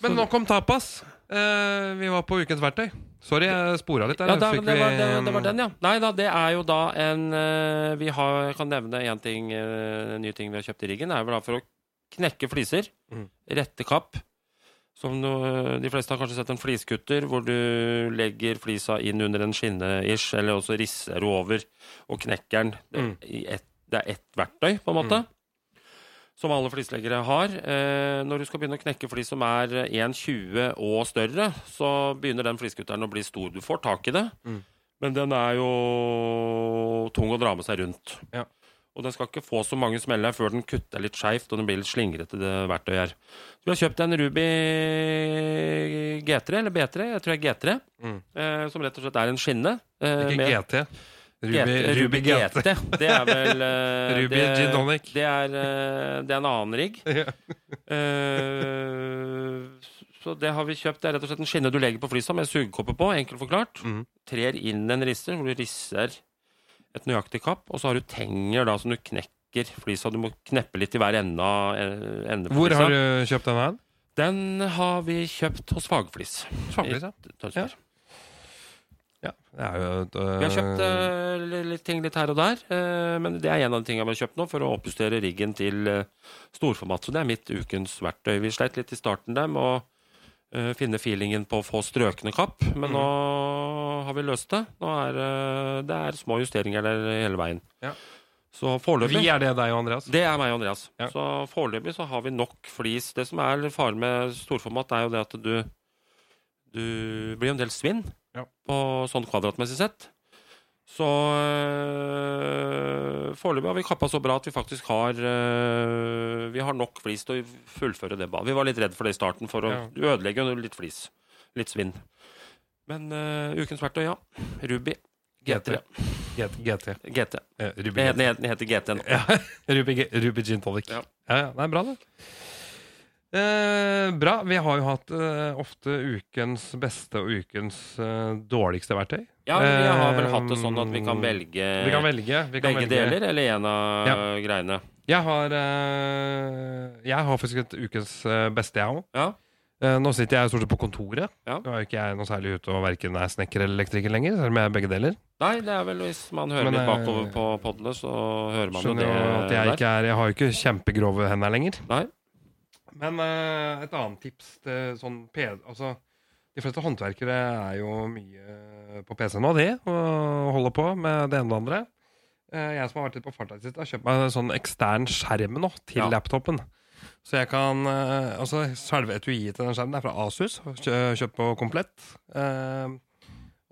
S1: Men nok om tapas. Eh, eh, vi var på Ukens verktøy. Sorry, jeg spora litt der.
S2: Ja, da,
S1: Fikk
S2: det, var,
S1: vi
S2: det, var-
S1: en-
S2: det var den, ja. Nei da, det er jo da en eh, Vi har, jeg kan nevne én ting, eh, en ny ting vi har kjøpt i riggen. Det er vel da for å knekke fliser.
S1: Mm.
S2: Rette kapp. Som no, de fleste har kanskje sett en fliskutter, hvor du legger flisa inn under en skinne ish, eller også risser du over og knekker den.
S1: Mm.
S2: i ett- det er ett verktøy, på en måte. Som alle flisleggere har. Eh, når du skal begynne å knekke flis som er eh, 1,20 og større, så begynner den fliskutteren å bli stor. Du får tak i det,
S1: Mm.
S2: men den er jo tung å dra med seg rundt.
S1: Ja.
S2: Og den skal ikke få så mange smeller før den kutter litt skeivt og den blir litt slingrete, det verktøyet her. Så vi har kjøpt en Ruby G3, eller B3, jeg tror det er G3,
S1: Mm.
S2: eh, som rett og slett er en skinne. eh,
S1: Ikke
S2: med-
S1: GT. Ruby,
S2: GT, Ruby GT. Det er
S1: [LAUGHS]
S2: vel eh,
S1: Ruby
S2: det,
S1: Gin Tonic.
S2: Det er, eh, det er en annen rigg.
S1: Ja.
S2: Eh, så det har vi kjøpt. Det er rett og slett en skinne du legger på flysa med sugekoppe på, enkelt forklart.
S1: Mm.
S2: Trer inn en risser, hvor du risser et nøyaktig kapp, og så har du tenger da som du knekker flisa. Du må kneppe litt i hver ende av eh, ende
S1: [LAUGHS]
S2: på
S1: Hvor
S2: flisa.
S1: har du kjøpt den her?
S2: Den har vi kjøpt hos Fagflis.
S1: Fagflis, ja.
S2: Tønsberg.
S1: ja. Det er jo et,
S2: Vi har kjøpt
S1: øh,
S2: eh, li- litt ting litt her og der, eh, men det er en av de tingene vi har kjøpt nå for å oppjustere riggen til eh, storformat. Så det er mitt ukens verktøy. Vi sleit litt i starten der med å eh, finne feelingen på å få strøkne kapp, men nå har vi løst det. Nå er eh, det er små justeringer der hele veien.
S1: Ja.
S2: Så foreløpig
S1: Vi er det deg og Andreas.
S2: det er meg og Andreas.
S1: Ja.
S2: Så foreløpig så har vi nok flis. Det som er faren med storformat, er jo det at du, du blir jo en del svinn
S1: Ja.
S2: på sånn kvadratmessig sett. Så øh, foreløpig har vi kappa så bra at vi faktisk har øh, Vi har nok flis til å fullføre det. ba- Vi var litt redd for det i starten, for å
S1: Ja.
S2: du ødelegger jo litt flis. Litt svinn. Men øh, ukens verktøy, ja. Ruby G3.
S1: GT. GT.
S2: GT.
S1: Eh, Ruby,
S2: Den
S1: GT.
S2: heter, den heter GT nå.
S1: Ruby, G- Ruby Gin Tonic. Ja. Ja,
S2: Ja.
S1: Det er bra, det. Eh, bra. Vi har jo hatt eh, ofte ukens beste og ukens eh, dårligste verktøy.
S2: Ja, men vi har vel
S1: Eh,
S2: hatt det sånn at vi kan velge,
S1: Vi kan velge. Vi kan
S2: Eh,
S1: velge.
S2: begge deler, eller en av greiene.
S1: Jeg har, eh, jeg har faktisk et ukens eh, beste, jeg òg.
S2: Ja.
S1: Eh, Nå sitter jeg stort sett på kontoret.
S2: Ja.
S1: Nå er jo ikke jeg noe særlig ute og verken er snekker eller elektriker lenger. Selv om jeg er begge deler.
S2: Nei, det er vel hvis man hører
S1: Men,
S2: litt
S1: eh,
S2: bakover på podene, så hører man jo
S1: Skjønner
S2: det
S1: jo at jeg, ikke er, jeg har jo ikke kjempegrove hender lenger.
S2: Nei.
S1: Men eh, et annet tips til sånn P... Altså, de fleste håndverkere er jo mye eh, på PC nå, de, og holder på med det ene og det andre. Eh, jeg som har vært litt på farta i det siste, har kjøpt meg en sånn ekstern skjerm nå til
S2: Ja.
S1: laptopen. Så jeg kan eh, Altså, selve etuiet til den skjermen er fra Asus, kjø- kjøpt på komplett. Eh,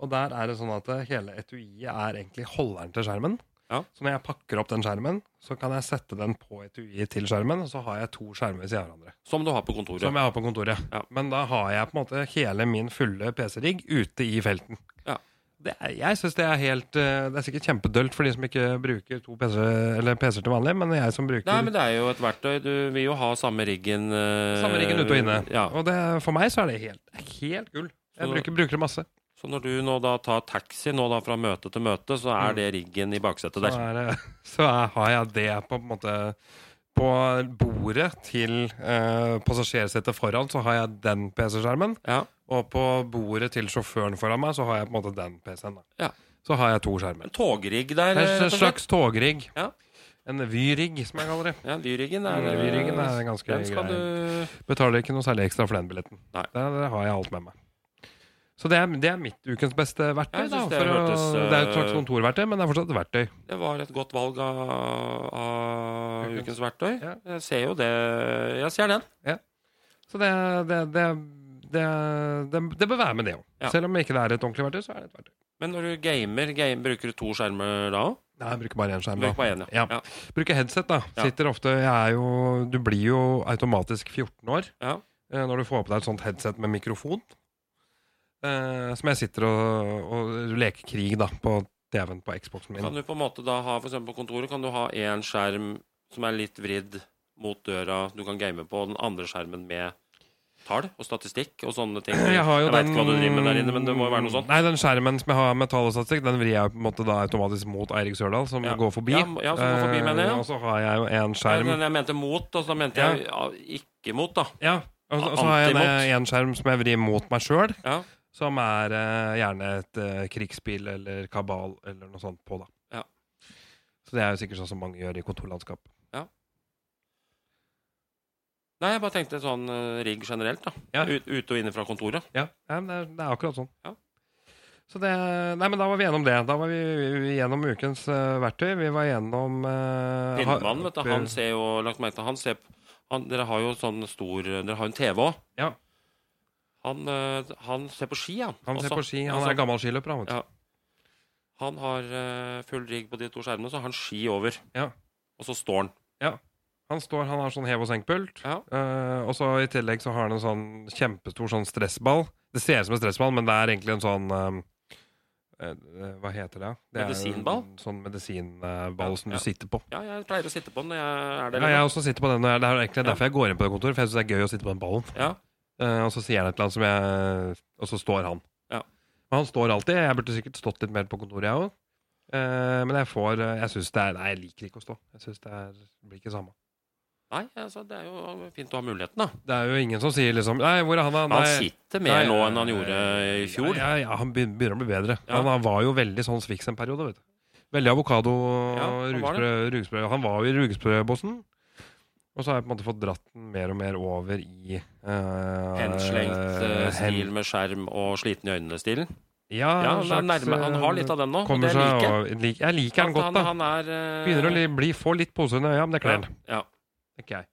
S1: og der er det sånn at eh, hele etuiet er egentlig holderen til skjermen.
S2: Ja.
S1: Så når jeg pakker opp den skjermen, så kan jeg sette den på etuiet til skjermen, og så har jeg to skjermer ved siden av hverandre.
S2: Som du har på kontoret.
S1: Som jeg har på kontoret.
S2: Ja.
S1: Men da har jeg på en måte hele min fulle PC-rigg ute i felten.
S2: Ja.
S1: Det er, jeg synes det er helt eh, Det er sikkert kjempedølt for de som ikke bruker to PC, eller PC-er til vanlig, men jeg som bruker
S2: Nei, men det er jo et verktøy. Du vil jo ha samme riggen eh,
S1: samme riggen ute og inne.
S2: Ja.
S1: Og det, for meg så er det helt, helt gull. Jeg
S2: Så-
S1: bruker, bruker det masse.
S2: Så når du nå da tar taxi nå da fra møte til møte, så
S1: Mm.
S2: er det riggen i baksetet
S1: Så,
S2: der.
S1: er, det- så er, har jeg det på en måte På bordet til eh, passasjersetet foran, så har jeg den PC-skjermen.
S2: Ja.
S1: Og på bordet til sjåføren foran meg, så har jeg på en måte den PC-en. da.
S2: Ja.
S1: Så har jeg to skjermer.
S2: En togrigg der.
S1: Det er
S2: rett og
S1: en
S2: slett.
S1: slags togrigg.
S2: Ja.
S1: En vyrigg, som jeg kaller det.
S2: Ja, Vyriggen er,
S1: Vyriggen er en ganske
S2: Den skal
S1: grei.
S2: du
S1: Betaler ikke noe særlig ekstra for den billetten.
S2: Nei.
S1: Der, der har jeg alt med meg. Så det er, det er mitt ukens beste verktøy.
S2: Jeg
S1: Da,
S2: synes det
S1: for å,
S2: hørtes, eh,
S1: det er et slags kontorverktøy, men det er fortsatt et verktøy.
S2: Det var et godt valg av, av
S1: Ukens-
S2: ukens verktøy.
S1: Ja.
S2: Jeg ser jo det. Jeg ser den.
S1: Så det, det, det, det, det, det bør være med, det òg.
S2: Ja.
S1: Selv om ikke det er et ordentlig verktøy, så er det et verktøy.
S2: Men når du gamer, game, bruker du to skjermer da òg?
S1: Nei, jeg bruker bare én skjerm.
S2: Bruk
S1: da.
S2: bare én,
S1: Ja.
S2: ja. Ja.
S1: Bruker headset, da.
S2: Ja.
S1: Sitter ofte jeg er jo, Du blir jo automatisk 14 år.
S2: ja.
S1: eh, når du får på deg et sånt headset med mikrofon. Eh, som jeg sitter og, og leker krig da, på TV-en på Xboxen min.
S2: Kan du på en måte da ha, for eksempel på kontoret, kan du ha én skjerm som er litt vridd mot døra du kan game på, og den andre skjermen med tall og statistikk og sånne ting?
S1: Jeg har jo
S2: vet ikke hva du driver med der inne, men det må jo være noe sånt.
S1: Nei, den skjermen som jeg har med tall og statistikk, den vrir jeg jo på en måte da automatisk mot Eirik Sørdal, som
S2: Ja.
S1: går forbi.
S2: Ja, ja, som går forbi,
S1: Eh,
S2: mener jeg.
S1: Og så har jeg jo en
S2: Nei,
S1: skjerm
S2: men jeg mente mot, altså da mente jeg ja, ikke mot, da.
S1: Ja, Og så- og så har jeg en, eh,
S2: Antimot.
S1: en skjerm som jeg vrir mot meg sjøl,
S2: Ja.
S1: som er eh, gjerne et eh, krigsspill eller kabal eller noe sånt på, da.
S2: Ja.
S1: Så det er jo sikkert sånn som mange gjør i kontorlandskap.
S2: Nei, jeg bare tenkte sånn eh, rigg generelt, da.
S1: Ja.
S2: Ut, ute og inne fra kontoret.
S1: Ja, nei, men det, er, det er akkurat sånn.
S2: Ja.
S1: Så det, nei, men da var vi gjennom det. Da var vi, vi gjennom ukens eh, verktøy. Vi var gjennom uh,
S2: Pinnemannen, vet du, han ser jo Lagt merke til han ser p- han, Dere har jo sånn stor Dere har en TV òg.
S1: Ja.
S2: Han, eh, han ser på ski, han.
S1: Han ser
S2: Også.
S1: på ski. Han
S2: altså-
S1: er gammel skiløper, han. vet du.
S2: Ja. Han har eh, full rigg på de to skjermene, så har han ski over.
S1: Ja.
S2: Og så står han.
S1: Han står, han har sånn hev- og senkpult.
S2: Ja.
S1: Eh, og så i tillegg så har han en sånn kjempestor sånn stressball. Det ser ut som en stressball, men det er egentlig en sånn eh, eh, Hva heter det? det er jo
S2: Medisinball?
S1: en Sånn medisinball
S2: Ja,
S1: som
S2: ja.
S1: du sitter på.
S2: Ja, jeg pleier å sitte på den når jeg er der.
S1: Ja, jeg også sitter på den. når jeg- Det er egentlig
S2: Ja.
S1: derfor jeg går inn på det kontoret, for jeg syns det er gøy å sitte på den ballen.
S2: Ja.
S1: Eh, og så sier han et eller annet som jeg Og så står han.
S2: Ja.
S1: Men han står alltid. Jeg burde sikkert stått litt mer på kontoret, jeg òg. men jeg får eh, Jeg synes det er Nei, jeg liker ikke å stå. Jeg synes det, er, det blir ikke samme.
S2: Nei, altså, det er jo fint å ha muligheten, da.
S1: Det er jo ingen som sier liksom Nei, hvor er han, da?
S2: Han
S1: Nei,
S2: sitter mer
S1: nei,
S2: nå enn han gjorde i fjor.
S1: Ja, ja, ja han begyn- begynner å bli bedre.
S2: Ja.
S1: Han, var jo veldig sånn Swix en periode, vet du. Veldig avokado
S2: Ja,
S1: og
S2: han var
S1: rugsprø, rugsprø. Han var jo i rugsprøbossen. Og så har jeg på en måte fått dratt den mer og mer over i eh,
S2: Henslengt eh,
S1: hen-
S2: stil med skjerm og sliten i øynene-stilen.
S1: Ja,
S2: Ja,
S1: en
S2: han, er
S1: slags, eh,
S2: nærme, han har litt av den nå. og
S1: Kommer seg
S2: Det liker jeg.
S1: over- lik- Jeg liker han
S2: At
S1: godt, da.
S2: Han, han er, eh,
S1: Begynner å li, bli, få litt pose under øya, men det kler han.
S2: Ja, ja.
S1: Tenker jeg.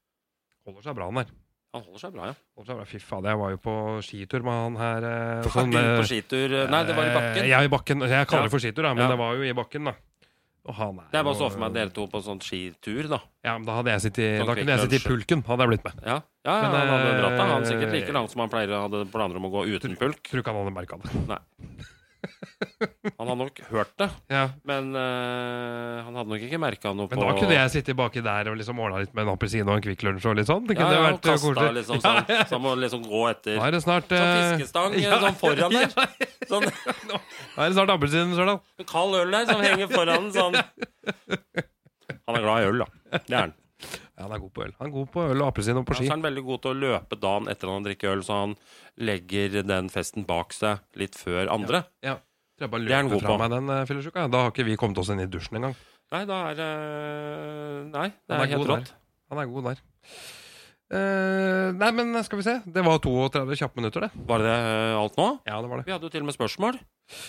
S1: Holder seg bra, han der.
S2: Han holder seg bra, ja.
S1: Holder seg bra. Fy fader, jeg var jo på skitur med han her. eh, og sånn,
S2: Inn
S1: eh,
S2: på skitur eh, Nei, det var i bakken.
S1: Eh, Ja, i bakken. Jeg kaller det for skitur, da, men
S2: Ja.
S1: det var jo i bakken, da. Og han er
S2: Det er bare å
S1: jo-
S2: så for meg dere to på sånn skitur, da.
S1: Ja, men da, hadde jeg sittet,
S2: Sånn
S1: da kunne jeg
S2: quick
S1: sittet i pulken, hadde jeg blitt med.
S2: Ja, ja, ja
S1: Men,
S2: han hadde dratt da. Han sikkert
S1: eh,
S2: like langt som han pleier hadde planer om å gå uten pulk.
S1: Tror ikke han hadde merka det.
S2: Han hadde nok hørt det,
S1: Ja.
S2: men eh, han hadde nok ikke merka noe
S1: Men
S2: på
S1: da kunne jeg sittet baki der og liksom ordna litt med en appelsin og en Kvikk Lunsj og litt sånn. Det
S2: ja,
S1: kunne
S2: ja,
S1: vært
S2: og kasta
S1: koselig.
S2: liksom sånn, så han må liksom gå etter.
S1: Nå er det snart
S2: Sånn
S1: eh,
S2: fiskestang eh,
S1: ja,
S2: sånn foran der. Sånn
S1: Nå er det snart appelsinen, Sørdal.
S2: kald øl der som henger foran sånn. Han er glad i øl, da. Det er han.
S1: Ja, han er god på øl. Han er god på øl og appelsin og på
S2: Ja,
S1: ski.
S2: så er han veldig god til å løpe dagen etter han har drukket øl, så han legger den festen bak seg litt før andre.
S1: Tror jeg bare
S2: det er han
S1: løper
S2: god
S1: fra
S2: på.
S1: meg den eh, fyllesyka. Da har ikke vi kommet oss inn i dusjen engang.
S2: Nei, da er det Nei,
S1: Han
S2: det er,
S1: er
S2: helt
S1: god
S2: rått.
S1: Han er god der. Eh, nei, men skal vi se. Det var 32 kjappe minutter, det.
S2: Var det eh, alt nå?
S1: Ja, det var det.
S2: Vi hadde jo til og med spørsmål.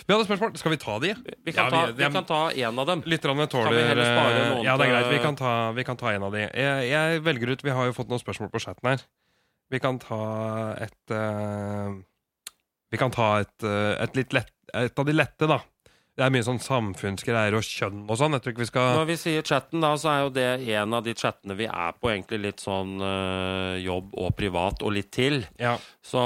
S1: Vi hadde spørsmål. Skal vi ta de?
S2: Vi kan,
S1: Ja,
S2: ta,
S1: vi-
S2: vi kan ta en av dem.
S1: Litt rann tåler eh,
S2: Kan vi heller spare noen
S1: Ja, det er
S2: til- eh,
S1: greit. Vi kan ta, vi kan ta en av de. Jeg, jeg velger ut Vi har jo fått noen spørsmål på chatten her. Vi kan ta et eh, Vi kan ta et, eh, et litt lett Et av de lette, da. Det er mye sånn samfunnsgreier og kjønn og sånn. Jeg tror ikke vi skal
S2: Når vi sier chatten, da, så er jo det en av de chattene vi er på, egentlig litt sånn eh, jobb og privat og litt til.
S1: Ja.
S2: Så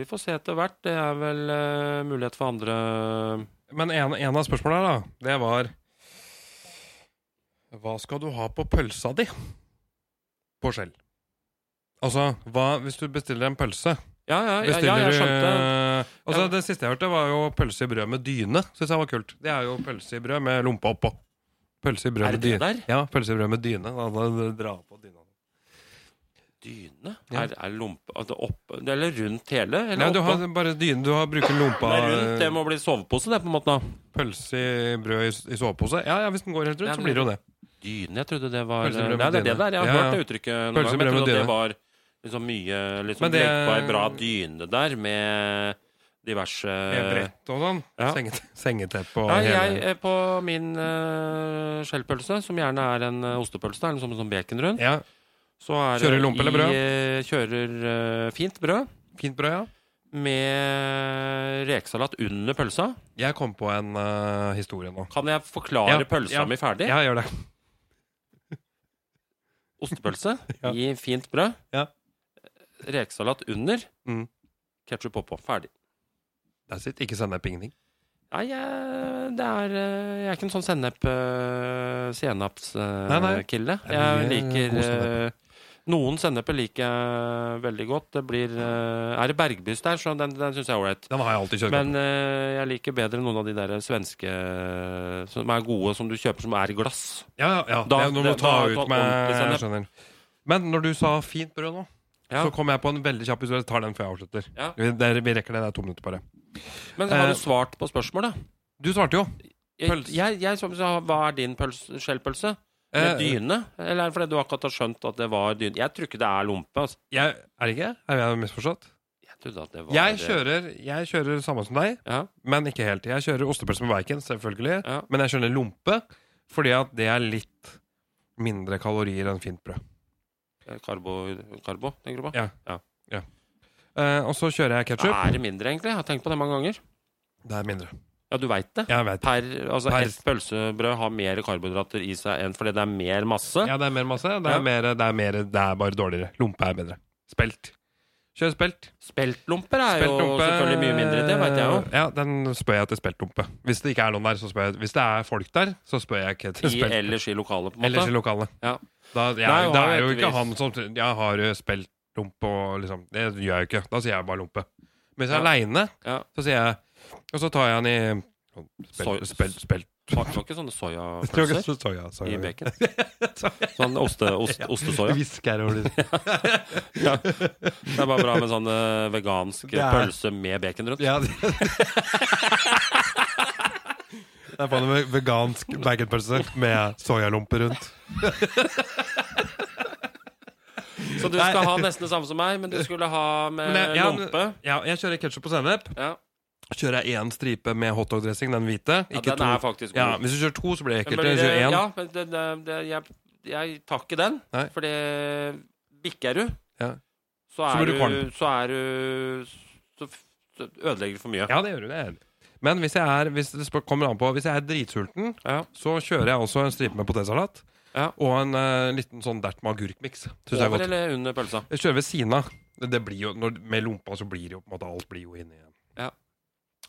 S2: vi får se etter hvert. Det er vel eh, mulighet for andre
S1: Men en, en av spørsmålene her, da, det var Hva skal du ha på pølsa di? På skjell. Altså, hva hvis du bestiller en pølse?
S2: Ja, ja, ja, ja
S1: Bestiller
S2: jeg
S1: du
S2: skjønte.
S1: Altså,
S2: Ja.
S1: Det siste jeg hørte, var jo pølse i brød med dyne. Synes jeg var kult. Det er jo pølse i brød med lompa oppå. Pølse i brød
S2: Er
S1: med
S2: det det
S1: dyne.
S2: der?
S1: Ja, pølse i brød med dyne. Da, da, da, dra på dyna.
S2: Dyne?
S1: Ja.
S2: Er, er lompe altså opp, Eller rundt hele? Eller
S1: Nei, du
S2: oppå?
S1: har bare dyne. Du har bruker lompa
S2: Det er rundt, det må bli sovepose, det, på en måte. da.
S1: Pølse i brød i, i sovepose. Ja, ja, hvis den går helt rundt,
S2: Ja,
S1: så
S2: men-
S1: blir det jo det.
S2: Dyne, jeg trodde det var eh,
S1: Pølse med brød
S2: Nei,
S1: med
S2: det er det
S1: dyne.
S2: der. Jeg har
S1: Ja, ja.
S2: hørt det uttrykket noen
S1: Pølse
S2: ganger,
S1: med
S2: men jeg
S1: brød
S2: trodde
S1: med
S2: det var liksom mye liksom
S1: Men det-
S2: Legg på ei bra dyne der med diverse
S1: Med brett og sånn.
S2: Eh, Ja.
S1: Senge- Sengeteppe og
S2: Nei, jeg,
S1: hele
S2: eh, på min eh, skjellpølse, som gjerne er en eh, ostepølse, det er liksom en sånn bacon rundt,
S1: ja,
S2: så er det
S1: Kjører lompe eller
S2: i,
S1: brød?
S2: eh, Kjører eh, fint brød
S1: Fint brød, ja.
S2: med rekesalat under pølsa.
S1: Jeg kom på en eh, historie nå.
S2: Kan jeg forklare
S1: Ja,
S2: pølsa
S1: ja.
S2: mi ferdig?
S1: Ja, gjør det.
S2: Ostepølse
S1: [LAUGHS] Ja.
S2: i fint brød.
S1: Ja.
S2: Rekesalat under.
S1: Mm.
S2: Ketchup oppå. Ferdig.
S1: That's it. Ikke sennep, ingenting.
S2: Nei, jeg, det er, eh, jeg er ikke en sånn sennep eh,
S1: Nei, nei.
S2: sennepskille.
S1: Det er mye
S2: Jeg liker
S1: god
S2: eh,
S1: sennep.
S2: Noen senneper liker jeg veldig godt. Det blir eh, Er det bergbys der, så den, den syns jeg er ålreit.
S1: Den har jeg alltid kjørt.
S2: Men eh, jeg liker bedre noen av de der svenske som er gode, som du kjøper som er i glass.
S1: Ja, ja, ja.
S2: Da-
S1: det, nå må
S2: det-
S1: du ta
S2: da-
S1: ut
S2: da-
S1: med
S2: ordentlig
S1: Jeg skjønner. Men når du sa fint brød nå,
S2: Ja.
S1: Så kom jeg på en veldig kjapp historie. Jeg tar den før jeg avslutter.
S2: Ja.
S1: Vi, der, vi rekker det. Det er to minutter bare.
S2: Men har
S1: Eh,
S2: du svart på spørsmålet?
S1: Du svarte jo.
S2: Jeg,
S1: pøls-
S2: jeg, jeg, som sa, hva er din pøls- skjellpølse? Med
S1: Eh,
S2: dyne? Eller er det fordi du akkurat har skjønt at det var dyne? Jeg tror ikke det er lompe. Altså.
S1: Jeg, er det ikke? Er jeg misforstått?
S2: Jeg trodde at det var
S1: Jeg kjører, jeg kjører samme som deg,
S2: Ja,
S1: men ikke helt. Jeg kjører ostepølse med bacon, selvfølgelig.
S2: ja.
S1: Men jeg kjører lompe, fordi at det er litt mindre kalorier enn fint brød.
S2: eh, Karbo, karbo tenker du på?
S1: Ja. Eh, og så kjører jeg ketsjup.
S2: Er det mindre, egentlig? Jeg har tenkt på det mange ganger.
S1: Det er mindre.
S2: Ja, du veit det.
S1: Jeg vet.
S2: Per, altså,
S1: Per-
S2: Et pølsebrød har mer karbohydrater i seg enn fordi det er mer masse.
S1: Ja, det er mer masse. Det er,
S2: Ja.
S1: mer, det, er mer, det er bare dårligere. Lompe er bedre. Spelt. Kjør spelt.
S2: Speltlomper er jo
S1: Speltlompe-
S2: selvfølgelig mye mindre, det veit jeg jo.
S1: Ja, den spør jeg til speltlompe. Hvis det ikke er noen der, så spør jeg Hvis det er folk der, så spør jeg ikke til
S2: I
S1: spelt.
S2: ellers i lokalet, på en
S1: Ellers i
S2: måte.
S1: lokalet.
S2: Ja.
S1: Da, jeg,
S2: Nei, og
S1: det
S2: har
S1: er
S2: jo
S1: jo
S2: et
S1: ikke
S2: vis-
S1: han som Jeg har jo speltlompe og liksom Det gjør jeg jo ikke. Da sier jeg bare lompe. Men hvis jeg er
S2: Ja.
S1: aleine,
S2: Ja.
S1: så sier jeg Og så tar jeg han i
S2: Soy-
S1: Spelt, spelt, spelt.
S2: Det var ikke sånne
S1: [LAUGHS] Tror jeg ikke så-
S2: soyapølser
S1: soya- soya-
S2: i
S1: [LAUGHS]
S2: bacon. Sånn oste, ost, ostesoya.
S1: Hvisker over det. [LAUGHS]
S2: Ja. Det er bare bra med sånn eh, vegansk
S1: Det er-
S2: pølse med bacon rundt.
S1: Ja, det [LAUGHS] Det er faen meg vegansk baconpølse med soyalompe rundt.
S2: Så du skal ha nesten det samme som meg, men du skulle ha med
S1: Men jeg- ja, men-
S2: lompe.
S1: Ja, jeg kjører ketsjup og sennep.
S2: Ja.
S1: Kjører jeg én stripe med hotdog-dressing, den hvite.
S2: ja,
S1: Ikke
S2: den er
S1: to.
S2: faktisk
S1: Ja,
S2: god.
S1: hvis du kjører to, så blir det
S2: Men
S1: ekkelt.
S2: blir
S1: Hvis du
S2: det-
S1: kjører én,
S2: Ja, men det, det, det, jeg, jeg tar ikke den,
S1: Nei.
S2: for det bikker du.
S1: Ja.
S2: Så
S1: Så
S2: er
S1: blir du
S2: du
S1: kvalm.
S2: Så er du Så f- så ødelegger du for mye.
S1: Ja, det gjør du. det er jeg enig i. Men hvis jeg er, hvis det spør- kommer an på, hvis jeg er dritsulten,
S2: Ja.
S1: så kjører jeg også en stripe med potetsalat.
S2: Ja.
S1: Og en eh, liten sånn dert med agurkmiks. Synes jeg er
S2: Over
S1: godt.
S2: eller under pølsa?
S1: Jeg kjører ved siden av. Det- Det blir jo, når, med lompa så blir det jo på en måte alt blir jo inni igjen.
S2: Ja.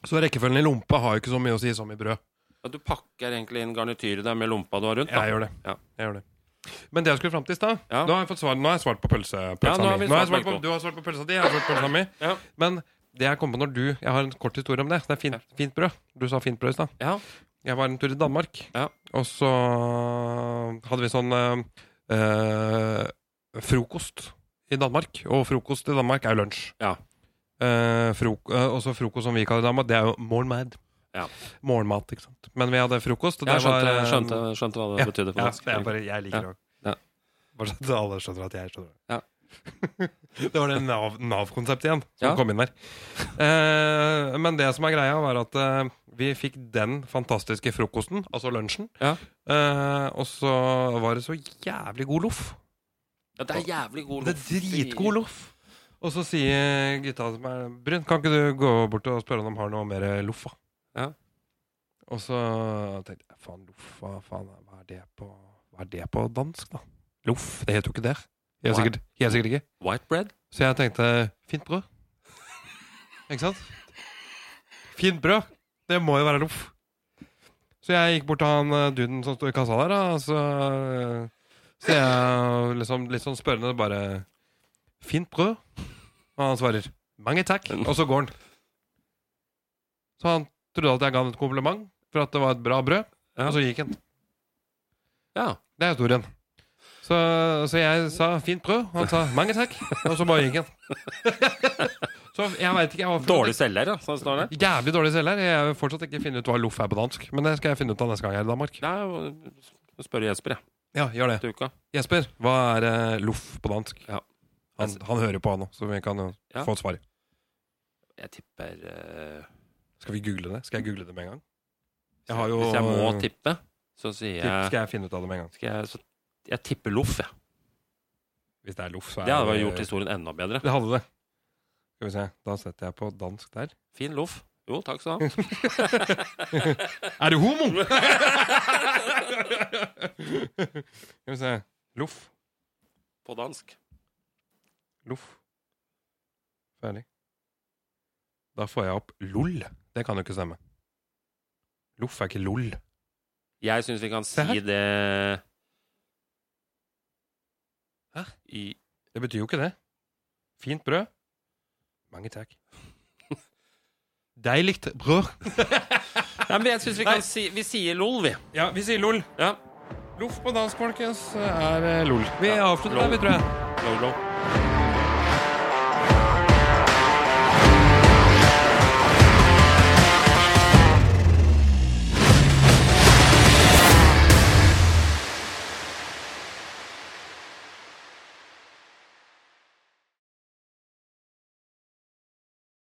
S1: Så rekkefølgen i lompa har jo ikke så mye å si som i brød.
S2: Ja, du pakker egentlig inn garnityret der med lompa du har rundt. Da.
S1: Jeg gjør det.
S2: Ja.
S1: Jeg gjør det. Men det jeg skulle fram til i stad
S2: Ja.
S1: Nå har jeg fått svar, nå har jeg svart på pølse,
S2: Ja,
S1: pølsa
S2: nå har vi
S1: mi. Nå har jeg
S2: svart
S1: svart på,
S2: begge to.
S1: du har svart på pølsa di, jeg har svart på pølsa mi.
S2: Ja.
S1: Men det jeg kom på når du Jeg har en kort historie om det. Det er fint, fint brød. Du sa fint brød i stad.
S2: Ja.
S1: Jeg var en tur i Danmark,
S2: Ja.
S1: og så hadde vi sånn eh, eh, frokost i Danmark. Og frokost i Danmark er jo lunsj.
S2: Ja.
S1: Eh, frok eh, og så frokost som vi kaller det i Danmark, det er jo morgenmad.
S2: Ja.
S1: Morgenmat, ikke sant. Men vi hadde frokost. og
S2: Jeg
S1: det var,
S2: skjønte,
S1: eh,
S2: skjønte, skjønte hva det
S1: ja,
S2: betydde. på
S1: ja,
S2: norsk.
S1: det er bare jeg liker det
S2: Ja.
S1: òg.
S2: Ja.
S1: Bare så at alle skjønner at jeg skjønner det.
S2: Ja.
S1: [LAUGHS] det var det Nav- Nav-konseptet igjen som
S2: Ja.
S1: kom inn der. Eh, men det som er greia, var at eh, vi fikk den fantastiske frokosten, altså lunsjen,
S2: Ja.
S1: eh, og så var det så jævlig god loff.
S2: Ja, det er jævlig god
S1: Det er dritgod loff. Og så sier gutta som er brun, kan ikke du gå bort og spørre om de har noe mer loff? da?»
S2: Ja.
S1: Og så tenkte jeg faen, loff, hva faen, hva er det på Hva er det på dansk, da? Loff, det heter jo ikke det. Helt
S2: Nei.
S1: sikkert, helt sikkert ikke.
S2: White bread?
S1: Så jeg tenkte fint brød. Ikke sant? Fint brød. Det må jo være loff. Så jeg gikk bort til han eh, duden som sto i kassa der, da, og så Så jeg liksom litt sånn spørrende bare Fint brød? Og han svarer mange takk, og så går han. Så han trodde at jeg ga han et kompliment for at det var et bra brød,
S2: Ja.
S1: og så gikk han.
S2: Ja.
S1: Det er historien. Så, så jeg sa 'fint brød', han sa 'mange takk', og så bare gikk han. så jeg veit ikke jeg var
S2: Dårlig selger, ja. Sånn står det.
S1: Jævlig dårlig selger. Jeg har fortsatt ikke funnet ut hva loff er på dansk. Men det skal jeg finne ut av neste gang jeg er i Danmark.
S2: Det er jo- Spør Jesper, jeg.
S1: Ja, gjør det
S2: Til uka.
S1: Jesper, hva er eh, loff på dansk?
S2: Ja.
S1: Han, han hører på, han òg, så vi kan jo
S2: Ja.
S1: få et svar.
S2: Jeg tipper eh,
S1: Skal vi google det? Skal jeg google det med en gang? Jeg har jo
S2: Hvis jeg må
S1: eh,
S2: tippe, så sier
S1: tipp,
S2: jeg
S1: Skal jeg finne ut av det med en gang?
S2: skal jeg, så, jeg tipper loff, jeg.
S1: Hvis det er loff, så er
S2: Det hadde vel gjort historien enda bedre.
S1: Det hadde det. Skal vi se. Da setter jeg på dansk der.
S2: Fin loff. Jo, takk skal du ha.
S1: Er du homo? [LAUGHS] Skal vi se. Loff.
S2: På dansk.
S1: Loff. Ferdig. Da får jeg opp LOL. Det kan jo ikke stemme. Loff er ikke LOL.
S2: Jeg syns vi kan
S1: Se her.
S2: si det
S1: Hæ?
S2: I,
S1: Det betyr jo ikke det. Fint brød. Mange takk. [LAUGHS] Deilig brød.
S2: Nei, men jeg syns vi
S1: Nei.
S2: kan si Vi sier lol, vi.
S1: Ja, vi sier LOL.
S2: Ja.
S1: Loff på dansk, folkens, er eh, LOL. Vi
S2: Ja,
S1: avslutter
S2: lol.
S1: der, vi, tror jeg.
S2: Lol, lol.